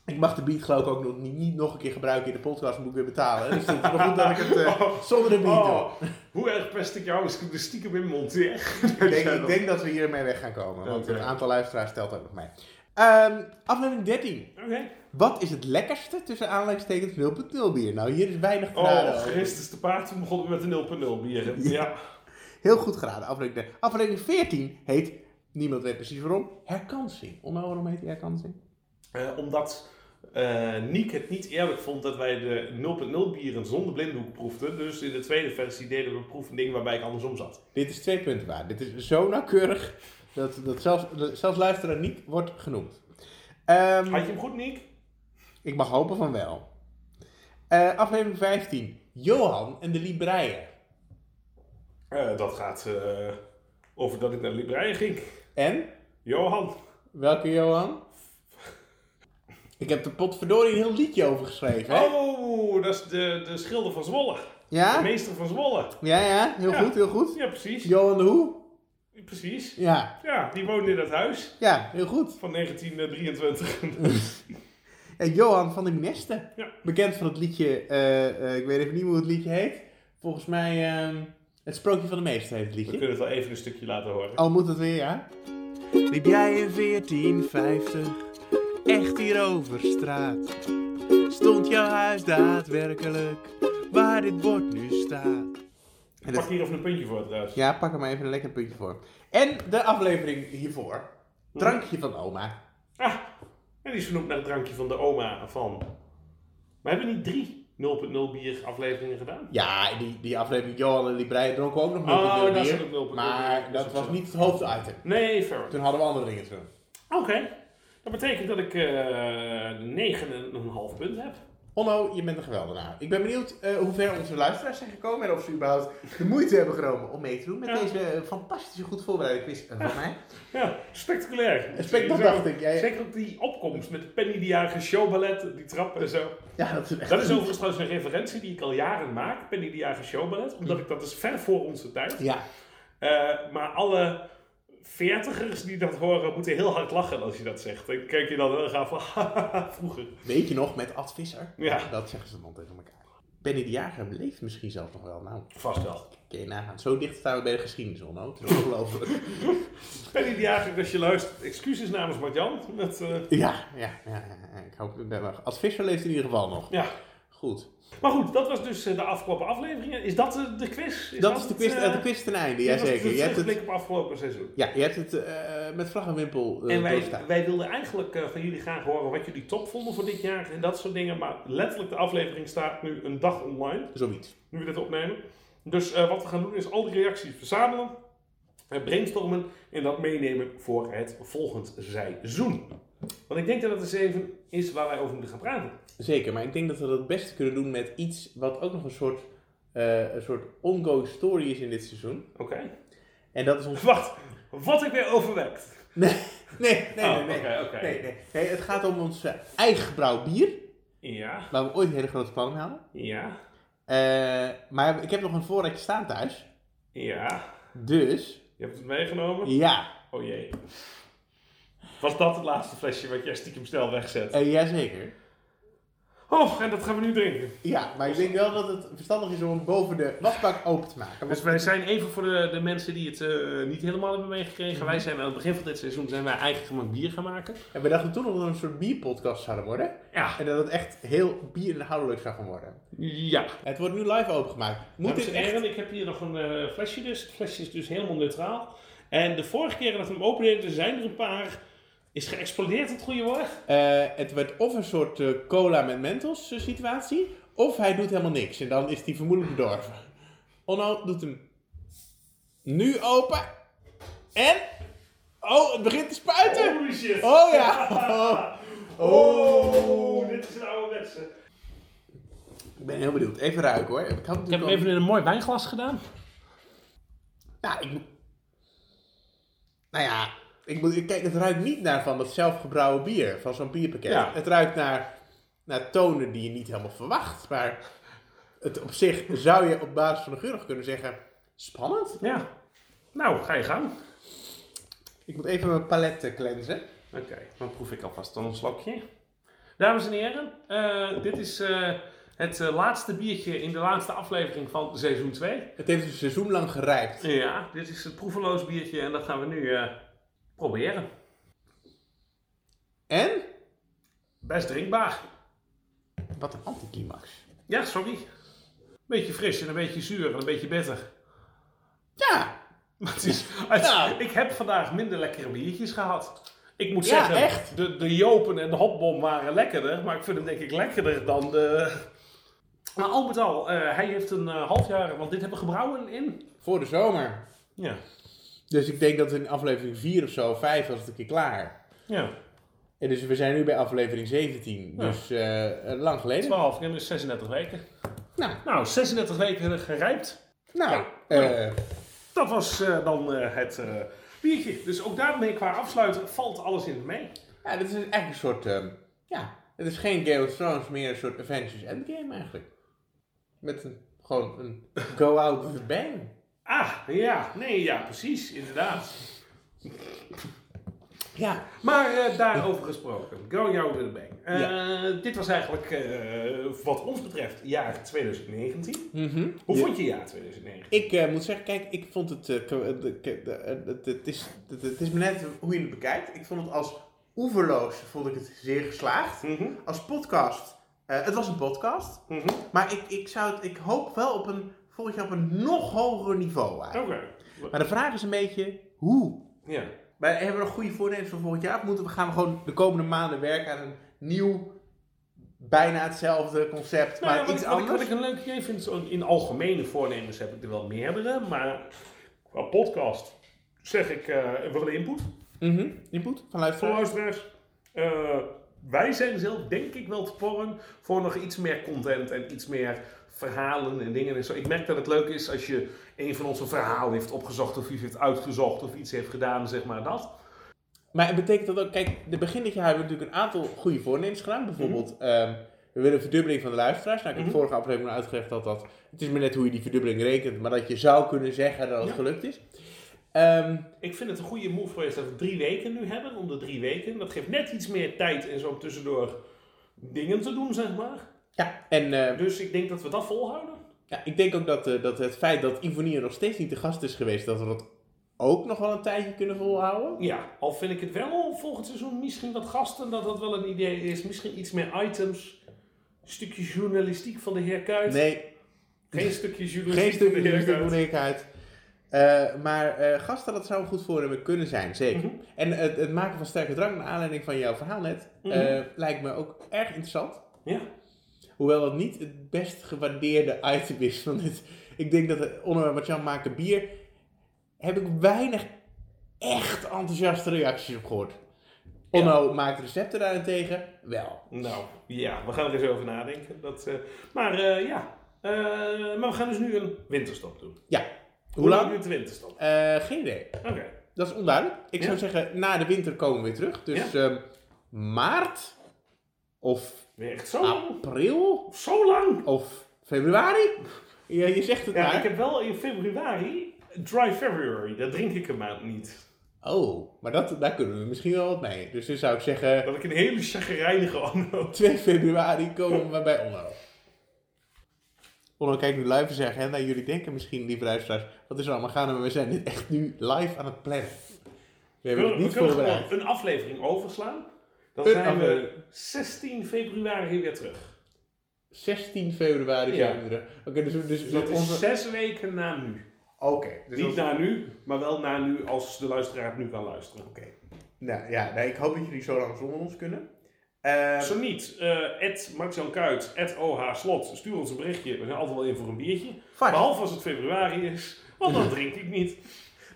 Speaker 2: ik mag de beat geloof ik ook nog niet, niet nog een keer gebruiken in de podcast, moet ik weer betalen. Dus het is wel goed dat ik het eh, zonder de beat doe.
Speaker 1: Oh, [laughs] hoe erg pest ik jou als ik hem er stiekem in monteer?
Speaker 2: Ik denk, ik denk dat we hiermee weg gaan komen, want
Speaker 1: Oké.
Speaker 2: een aantal luisteraars telt ook nog mee. Ehm, aflevering 13.
Speaker 1: Oké.
Speaker 2: Wat is het lekkerste tussen aanleidingstekens 0.0 bier? Nou, hier is weinig te raden
Speaker 1: Oh,
Speaker 2: over.
Speaker 1: Christus de paard, toen begonnen we met een 0.0 bier. Ja.
Speaker 2: Heel goed geraden, aflevering 13. Aflevering 14 heet, niemand weet precies waarom, herkansing. Om nou waarom heet die herkansing?
Speaker 1: Eh, omdat eh Niek het niet eerlijk vond dat wij de 0.0 bieren zonder blinddoek proefden. Dus in de tweede versie deden we een proefding waarbij ik andersom zat.
Speaker 2: Dit is twee punten waar. Dit is zo nauwkeurig dat, dat zelfs, dat zelfs luisteraar niet wordt genoemd. Ehm,
Speaker 1: Had je hem goed, Niek?
Speaker 2: ik mag hopen van wel. Eh, aflevering 15. Johan en de Libreien.
Speaker 1: Eh, dat gaat eh, over dat ik naar de libraaien ging.
Speaker 2: En?
Speaker 1: Johan.
Speaker 2: Welke Johan? Ik heb de potverdorie een heel liedje over geschreven, hè?
Speaker 1: Oh, dat is de, de schilder van Zwolle. De
Speaker 2: Ja?
Speaker 1: meester van Zwolle.
Speaker 2: Ja, ja. Heel
Speaker 1: Ja.
Speaker 2: goed, heel goed.
Speaker 1: Ja, precies.
Speaker 2: Johan de Hoe?
Speaker 1: Precies.
Speaker 2: Ja.
Speaker 1: Ja, die woonde in dat huis
Speaker 2: Ja, heel goed.
Speaker 1: van
Speaker 2: [laughs]
Speaker 1: 1923.
Speaker 2: En Johan van de Nesten.
Speaker 1: Ja.
Speaker 2: Bekend van het liedje, eh, eh, ik weet even niet hoe het liedje heet. Volgens mij ehm, Het Sprookje van de Meester heet het
Speaker 1: We
Speaker 2: liedje.
Speaker 1: kunnen het wel even een stukje laten horen.
Speaker 2: Al moet het weer, ja. Liep jij in 1450, echt hier over straat? Stond jouw huis daadwerkelijk waar dit bord nu staat? En
Speaker 1: Pak
Speaker 2: dat-
Speaker 1: hier even een puntje voor trouwens.
Speaker 2: ja, pak er maar even een lekker puntje voor. En de aflevering hiervoor. Drankje van oma.
Speaker 1: Ah, en die is vernoemd naar het drankje van de oma van. Maar hebben we niet drie 0.0 bier afleveringen gedaan?
Speaker 2: Ja, die, die aflevering Johan en Librei dronken ook nog
Speaker 1: Oh,
Speaker 2: nul nul
Speaker 1: dat
Speaker 2: bier,
Speaker 1: is ook nul-
Speaker 2: Maar
Speaker 1: nul-
Speaker 2: dat
Speaker 1: dat is
Speaker 2: was
Speaker 1: zo.
Speaker 2: niet het hoofditem.
Speaker 1: Nee, fair enough.
Speaker 2: Toen hadden we andere dingen te doen.
Speaker 1: Oké, dat betekent dat ik eh 9,5 punt heb.
Speaker 2: Onno, je bent een geweldenaar. Ik ben benieuwd eh, hoe ver onze luisteraars zijn gekomen en of ze überhaupt de moeite hebben genomen om mee te doen met
Speaker 1: Ja.
Speaker 2: deze eh, fantastische goed voorbereide quiz eh, van mij.
Speaker 1: Ja, spectaculair.
Speaker 2: Spect- dat
Speaker 1: Zo,
Speaker 2: dacht ik, jij-
Speaker 1: Zeker ook die opkomst met de Penny die jarige showballet, die trap en zo.
Speaker 2: Ja, dat is echt.
Speaker 1: Dat is overigens trouwens een referentie die ik al jaren maak, Penny die jarige showballet,
Speaker 2: Hm.
Speaker 1: omdat ik dat is ver voor onze tijd.
Speaker 2: Ja,
Speaker 1: Eh, maar alle veertigers die dat horen, moeten heel hard lachen als je dat zegt. Dan kijk je dan heel gaaf van, [laughs] vroeger.
Speaker 2: weet je nog met Ad Visser?
Speaker 1: Ja.
Speaker 2: Dat zeggen ze dan tegen elkaar. Benny de Jager leeft misschien zelfs nog wel. Nou,
Speaker 1: Vast wel.
Speaker 2: kun je nagaan. Zo dicht staan we bij de geschiedenis, Onno. Het is ongelooflijk.
Speaker 1: Penny de Jager, als je luistert, excuses namens Martjan. Met, eh,
Speaker 2: [laughs] ja, ja, ja, ja, ja. Ik hoop dat dat Ad Visser leeft in ieder geval nog.
Speaker 1: ja.
Speaker 2: Goed.
Speaker 1: Maar goed, dat was dus eh, de afgelopen afleveringen. Is dat eh, de quiz? Is
Speaker 2: dat, is de quiz,
Speaker 1: het,
Speaker 2: eh,
Speaker 1: eh,
Speaker 2: de quiz ten einde,
Speaker 1: dit was
Speaker 2: jazeker.
Speaker 1: de
Speaker 2: Je hebt het,
Speaker 1: terugblik op afgelopen seizoen.
Speaker 2: ja, je hebt het eh, met vlag en wimpel eh,
Speaker 1: En wij,
Speaker 2: doorstaan.
Speaker 1: wij wilden eigenlijk eh, van jullie graag horen wat jullie top vonden voor dit jaar en dat soort dingen. Maar letterlijk de aflevering staat nu een dag online.
Speaker 2: Zoiets.
Speaker 1: nu we dit opnemen. Dus eh, wat we gaan doen is al die reacties verzamelen, eh, brainstormen en dat meenemen voor het volgend seizoen. Want ik denk dat dat eens even is waar wij over moeten gaan praten.
Speaker 2: Zeker, maar ik denk dat we dat het beste kunnen doen met iets wat ook nog een soort, eh, een soort ongoing story is in dit seizoen.
Speaker 1: Oké.
Speaker 2: En dat is ons... [laughs]
Speaker 1: Wacht, wat ik weer overwerkt.
Speaker 2: Nee, nee, nee, nee.
Speaker 1: Oh,
Speaker 2: nee,
Speaker 1: oké, oké.
Speaker 2: nee, nee. Nee, het gaat om ons eh, eigen brouw bier.
Speaker 1: Ja,
Speaker 2: Waar we ooit hele grote plannen mee hadden.
Speaker 1: ja,
Speaker 2: Eh, maar ik heb nog een voorraadje staan thuis.
Speaker 1: ja.
Speaker 2: Dus,
Speaker 1: Je hebt het meegenomen?
Speaker 2: ja,
Speaker 1: Oh jee. Was dat het laatste flesje wat jij stiekem snel wegzet?
Speaker 2: eh, jazeker.
Speaker 1: Oh, en dat gaan we nu drinken.
Speaker 2: Ja, maar ik denk wel dat het verstandig is om hem boven de wasbak open te maken.
Speaker 1: Dus wij zijn even voor de, de mensen die het eh, niet helemaal hebben meegekregen. Wij zijn aan het begin van dit seizoen zijn wij eigen gemaakt bier gaan maken.
Speaker 2: En we dachten toen nog dat we een soort bierpodcast zouden worden.
Speaker 1: Ja,
Speaker 2: En dat het echt heel bierinhoudelijk zou gaan worden.
Speaker 1: ja.
Speaker 2: Het wordt nu live opengemaakt. Moet
Speaker 1: Dames
Speaker 2: dit
Speaker 1: en
Speaker 2: echt...
Speaker 1: heren, ik heb hier nog een eh, flesje dus. Het flesje is dus helemaal neutraal. En de vorige keer dat we hem opendeden, zijn er een paar... Is geëxplodeerd het goede woord?
Speaker 2: eh, het wordt of een soort eh, cola met mentos eh, situatie. Of hij doet helemaal niks. En dan is hij vermoedelijk bedorven. Onno doet hem nu open. En... Oh, het begint te spuiten.
Speaker 1: [laughs] Holy shit!
Speaker 2: Oh
Speaker 1: [laughs]
Speaker 2: ja. Oh.
Speaker 1: Oh, dit is een ouderwetse.
Speaker 2: Ik ben heel benieuwd. Even ruiken hoor. Ik, had
Speaker 1: Ik heb
Speaker 2: natuurlijk
Speaker 1: hem
Speaker 2: al-
Speaker 1: even in een mooi wijnglas gedaan.
Speaker 2: Nou, ik moet... Nou ja, ik moet... kijk, het ruikt niet naar van dat zelfgebrouwen bier, van zo'n bierpakket.
Speaker 1: Ja.
Speaker 2: Het ruikt naar, naar tonen die je niet helemaal verwacht. Maar het op zich zou je op basis van de geur nog kunnen zeggen, spannend.
Speaker 1: Ja. Nou, ga je gang.
Speaker 2: Ik moet even mijn palet eh, cleansen.
Speaker 1: Oké, dan proef ik alvast dan een slokje. Dames en heren, eh, dit is eh, het eh, laatste biertje in de laatste aflevering van seizoen 2.
Speaker 2: Het heeft een seizoen lang gerijpt.
Speaker 1: Ja, dit is het proeveloos biertje en dat gaan we nu eh, proberen.
Speaker 2: En?
Speaker 1: Best drinkbaar.
Speaker 2: Wat een anticlimax.
Speaker 1: Ja, sorry. Beetje fris en een beetje zuur en een beetje bitter.
Speaker 2: Ja,
Speaker 1: Maar het is, het-
Speaker 2: Ja.
Speaker 1: Ik heb vandaag minder lekkere biertjes gehad. Ik moet
Speaker 2: Ja,
Speaker 1: zeggen,
Speaker 2: echt?
Speaker 1: De, de Jopen en de Hopbom waren lekkerder. Maar ik vind hem denk ik lekkerder dan de... Maar al met al, eh, hij heeft een eh, half jaar, want dit hebben gebrouwen in.
Speaker 2: voor de zomer.
Speaker 1: Ja.
Speaker 2: Dus ik denk dat we in aflevering 4 of zo, 5 was het een keer klaar.
Speaker 1: Ja,
Speaker 2: En dus we zijn nu bij aflevering 17.
Speaker 1: Ja.
Speaker 2: Dus eh, eh, lang geleden.
Speaker 1: 12 en dus 36 weken.
Speaker 2: Nou,
Speaker 1: Nou, 36 weken gerijpt.
Speaker 2: Nou,
Speaker 1: Ja.
Speaker 2: eh,
Speaker 1: Dat was eh, dan eh, het eh, biertje. Dus ook daarmee qua afsluiten valt alles in mee.
Speaker 2: ja, dit is eigenlijk een soort, ehm, ja, het is geen Game of Thrones, meer een soort Avengers Endgame eigenlijk. Met een, gewoon een [laughs] go out with a bang.
Speaker 1: Ah, ja. Nee, ja, precies. Inderdaad.
Speaker 2: Ja.
Speaker 1: Maar eh, daarover gesproken, Going Out with a Bang. Eh, Dit was eigenlijk, eh, wat ons betreft, jaar 2019.
Speaker 2: Mhm.
Speaker 1: Hoe
Speaker 2: Ja.
Speaker 1: vond je jaar 2019?
Speaker 2: Ik eh, moet zeggen, kijk, ik vond het, eh, k- de- k- de- eh, het, het is, het, het is maar net hoe je het bekijkt. Ik vond het als oeverloos, vond ik het zeer geslaagd.
Speaker 1: Mhm,
Speaker 2: Als podcast, eh, het was een podcast,
Speaker 1: mhm.
Speaker 2: maar ik, ik zou het, ik hoop wel op een, volgend jaar op een nog hoger niveau eigenlijk.
Speaker 1: Oké.
Speaker 2: Maar de vraag is een beetje, hoe?
Speaker 1: Ja.
Speaker 2: Maar hebben we nog goede voornemens voor volgend jaar? Of moeten we gaan we gewoon de komende maanden werken aan een nieuw, bijna hetzelfde concept,
Speaker 1: Nou ja,
Speaker 2: maar
Speaker 1: wat,
Speaker 2: iets
Speaker 1: ik- wat ik, wat
Speaker 2: anders?
Speaker 1: ik een leuk idee vind, zo in algemene voornemens heb ik er wel meerdere. Maar qua podcast zeg ik, eh, we willen input
Speaker 2: Mhm. Input van
Speaker 1: voor
Speaker 2: luisteraars?
Speaker 1: luisteraars. Eh, wij zijn zelf denk ik wel te porren voor nog iets meer content en iets meer verhalen en dingen en zo. Ik merk dat het leuk is als je een van onze verhalen heeft opgezocht of iets heeft uitgezocht of iets heeft gedaan, zeg maar dat.
Speaker 2: Maar het betekent dat ook, kijk, de begin dit jaar hebben we natuurlijk een aantal goede voornemens gedaan. Bijvoorbeeld, ehm, we willen een verdubbeling van de luisteraars. Nou, ik heb
Speaker 1: Mhm.
Speaker 2: vorige aflevering al uitgelegd dat dat, het is maar net hoe je die verdubbeling rekent, maar dat je zou kunnen zeggen dat het
Speaker 1: Ja.
Speaker 2: gelukt is. Ehm,
Speaker 1: Ik vind het een goede move geweest dat we drie weken nu hebben, om de drie weken. Dat geeft net iets meer tijd en zo om tussendoor dingen te doen, zeg maar.
Speaker 2: ja, en ehm,
Speaker 1: Dus ik denk dat we dat volhouden.
Speaker 2: Ja, ik denk ook dat, eh, dat het feit dat Ivonie er nog steeds niet te gast is geweest, dat we dat ook nog wel een tijdje kunnen volhouden.
Speaker 1: Ja, al vind ik het wel volgend seizoen misschien wat gasten, dat dat wel een idee is. Misschien iets meer items. Een stukje journalistiek van de heer Kuit. [laughs]
Speaker 2: Nee,
Speaker 1: Geen stukje journalistiek
Speaker 2: geen
Speaker 1: van
Speaker 2: stukje
Speaker 1: de heer
Speaker 2: de
Speaker 1: Kuit.
Speaker 2: moeilijkheid. Eh maar eh, gasten, dat zou een goed voornemen kunnen zijn, zeker.
Speaker 1: Mhm.
Speaker 2: En het, het maken van sterke drank, naar aanleiding van jouw verhaal net, eh,
Speaker 1: Mhm.
Speaker 2: lijkt me ook erg interessant.
Speaker 1: Ja.
Speaker 2: Hoewel dat niet het best gewaardeerde item is van dit. Ik denk dat eh, het onderwerp wat Jan maken bier, heb ik weinig echt enthousiaste reacties op gehoord. Onno maakt recepten daarentegen wel.
Speaker 1: Nou, ja, we gaan er eens over nadenken. Dat, eh, maar eh, ja, Eh, maar we gaan dus nu een winterstop doen.
Speaker 2: Ja. Hoe lang?
Speaker 1: duurt de winterstop?
Speaker 2: Eh, geen idee.
Speaker 1: Oké.
Speaker 2: Dat is onduidelijk. Ik
Speaker 1: Ja.
Speaker 2: zou zeggen, na de winter komen we weer terug. Dus ehm, maart of
Speaker 1: Nee, echt
Speaker 2: Nou.
Speaker 1: zo lang?
Speaker 2: april
Speaker 1: Zo lang?
Speaker 2: of februari. Ja, je zegt het
Speaker 1: Ja,
Speaker 2: maar.
Speaker 1: ik heb wel in februari, dry February, daar drink ik een maand niet.
Speaker 2: Oh, maar dat, daar kunnen we misschien wel wat mee. Dus dan zou ik zeggen, [laughs]
Speaker 1: Dat ik een hele chagrijnige anno.
Speaker 2: 2 februari komen we bij Onno. Onno kijkt nu live in zijn agenda. Jullie denken misschien, lieve luisteraars, wat is er allemaal gaande? Maar we zijn dit echt nu live aan het plannen. We hebben
Speaker 1: We
Speaker 2: het niet
Speaker 1: kunnen gewoon
Speaker 2: voorbereid.
Speaker 1: een aflevering overslaan. Dan
Speaker 2: Een Dus
Speaker 1: zijn we
Speaker 2: aflevering.
Speaker 1: 16 februari weer terug.
Speaker 2: 16 februari
Speaker 1: Ja.
Speaker 2: zijn we er. Oké, dus, dus,
Speaker 1: Dus
Speaker 2: dat
Speaker 1: dat is
Speaker 2: onze...
Speaker 1: zes weken na nu.
Speaker 2: Oké, dus
Speaker 1: Niet
Speaker 2: dat-
Speaker 1: na nu, maar wel na nu als de luisteraar het nu kan luisteren.
Speaker 2: Oké. Nou ja, nee, ik hoop dat jullie zo lang zonder ons kunnen. Eh,
Speaker 1: Zo niet, Ed Max-Jan Kuit, Ed OH Slot, stuur ons een berichtje. We zijn altijd wel in voor een biertje.
Speaker 2: Vast.
Speaker 1: Behalve als het februari is, want dan drink ik niet.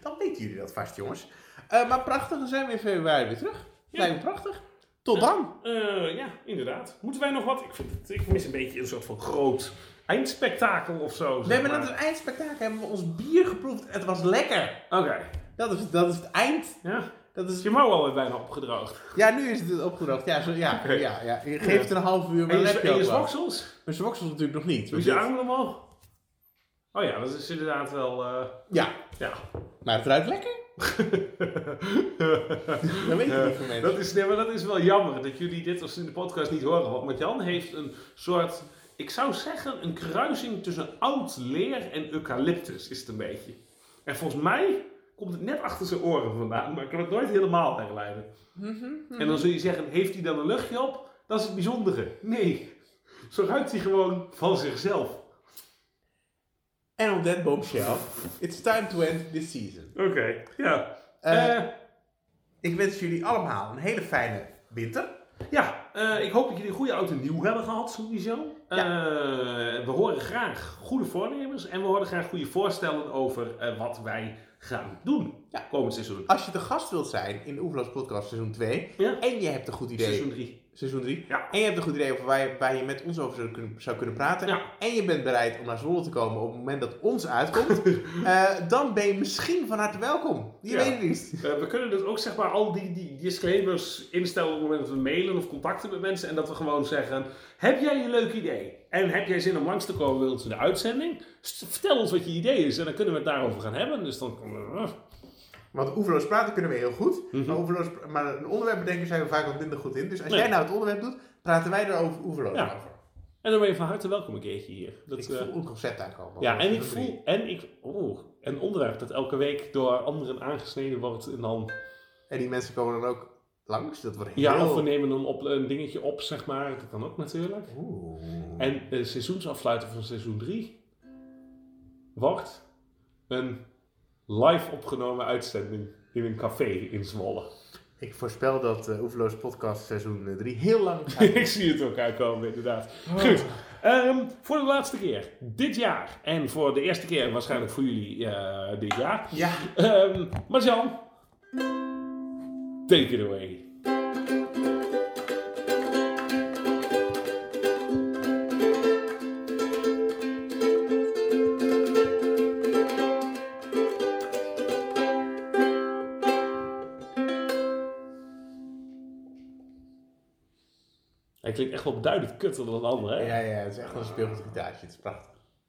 Speaker 2: Dan weten jullie dat vast, jongens. Eh, maar prachtig, dan zijn we in februari weer terug.
Speaker 1: Ja.
Speaker 2: Lijkt me prachtig. Tot dan.
Speaker 1: Eh, ja, inderdaad. Moeten wij nog wat? Ik, vind het, ik mis een beetje een soort van groot eindspektakel of zo.
Speaker 2: We
Speaker 1: zeg
Speaker 2: hebben net
Speaker 1: maar.
Speaker 2: een eindspectakel, hebben we ons bier geproefd. Het was lekker.
Speaker 1: Oké,
Speaker 2: Dat is, dat is het eind.
Speaker 1: ja.
Speaker 2: Dat is,
Speaker 1: Is je mouw alweer bijna opgedroogd?
Speaker 2: ja, nu is het opgedroogd. Ja, zo, ja,
Speaker 1: Oké.
Speaker 2: ja, ja. Je geeft het een half uur, maar
Speaker 1: En je,
Speaker 2: dan heb je
Speaker 1: en je
Speaker 2: ook wel.
Speaker 1: zwaksels?
Speaker 2: Mijn zwoksel is natuurlijk nog niet. dus
Speaker 1: Doe
Speaker 2: want
Speaker 1: je
Speaker 2: dit-
Speaker 1: armen omhoog? Oh ja, dat is inderdaad wel... eh,
Speaker 2: Ja,
Speaker 1: ja.
Speaker 2: maar het ruikt
Speaker 1: [laughs]
Speaker 2: lekker. Dat weet je niet van mensen.
Speaker 1: Dat is, nee, maar dat is wel jammer dat jullie dit als in de podcast niet horen. Want Martjan heeft een soort, ik zou zeggen, een kruising tussen oud leer en eucalyptus is het een beetje. En volgens mij komt het net achter zijn oren vandaan, maar ik kan het nooit helemaal herleiden. En dan zul je zeggen, heeft hij dan een luchtje op? Dat is het bijzondere. Nee, zo ruikt hij gewoon van zichzelf.
Speaker 2: En op that bombshell, it's time to end this season.
Speaker 1: Oké, ja.
Speaker 2: Eh,
Speaker 1: Eh,
Speaker 2: Ik wens jullie allemaal een hele fijne winter.
Speaker 1: Ja, eh, ik hoop dat jullie een goede oud en nieuw hebben gehad, sowieso. Eh, we horen graag goede voornemens en we horen graag goede voorstellen over eh, wat wij gaan doen
Speaker 2: Ja.
Speaker 1: komend seizoen.
Speaker 2: Als je te gast wilt zijn in de Oefenloos Podcast seizoen 2
Speaker 1: Ja.
Speaker 2: en je hebt een goed idee,
Speaker 1: Seizoen 3.
Speaker 2: seizoen 3,
Speaker 1: Ja.
Speaker 2: en je hebt een goed idee over waar je, waar je met ons over zou kunnen, zou kunnen praten
Speaker 1: Ja.
Speaker 2: en je bent bereid om naar Zwolle te komen op het moment dat ons
Speaker 1: [laughs]
Speaker 2: uitkomt, eh, dan ben je misschien van harte welkom. Je
Speaker 1: Ja.
Speaker 2: weet het niet.
Speaker 1: Eh, we kunnen dus ook zeg maar al die, die disclaimers instellen op het moment dat we mailen of contacten met mensen. En dat we gewoon zeggen, heb jij een leuk idee? En heb jij zin om langs te komen bij ons in de uitzending? St- vertel ons wat je idee is en dan kunnen we het daarover gaan hebben. Dus dan...
Speaker 2: Want oeverloos praten kunnen we heel goed,
Speaker 1: Mhm.
Speaker 2: maar, oeverloos, maar een onderwerp bedenken zijn we vaak wat minder goed in. Dus als
Speaker 1: Nee.
Speaker 2: jij nou het onderwerp doet, praten wij erover oeverloos
Speaker 1: Ja.
Speaker 2: over.
Speaker 1: En dan ben je van harte welkom een keertje hier. Dat,
Speaker 2: Ik
Speaker 1: eh,
Speaker 2: voel een concept aankomen.
Speaker 1: Ja,
Speaker 2: over
Speaker 1: en ik
Speaker 2: seizoen drie.
Speaker 1: voel. En ik, oh, een onderwerp dat elke week door anderen aangesneden wordt. En dan.
Speaker 2: En die mensen komen dan ook langs, dat wordt heel...
Speaker 1: Ja, of we nemen een, op, een dingetje op, zeg maar. Dat kan ook natuurlijk.
Speaker 2: Oeh.
Speaker 1: En de seizoensafsluiter van seizoen 3 wordt een live opgenomen uitzending in een café in Zwolle. [laughs]
Speaker 2: Ik voorspel dat eh Oeverloos Podcast seizoen 3 heel lang gaat.
Speaker 1: [laughs] ik zie het ook aankomen, inderdaad. Goed. Ehm, voor de laatste keer dit jaar. En voor de eerste keer waarschijnlijk voor jullie eh, dit jaar.
Speaker 2: ja.
Speaker 1: Ehm Marjan, take it away. Hij klinkt echt wel duidelijk kutter dan een ander, hè?
Speaker 2: ja, ja, het is echt een speelgoedgitaartje. Het is prachtig.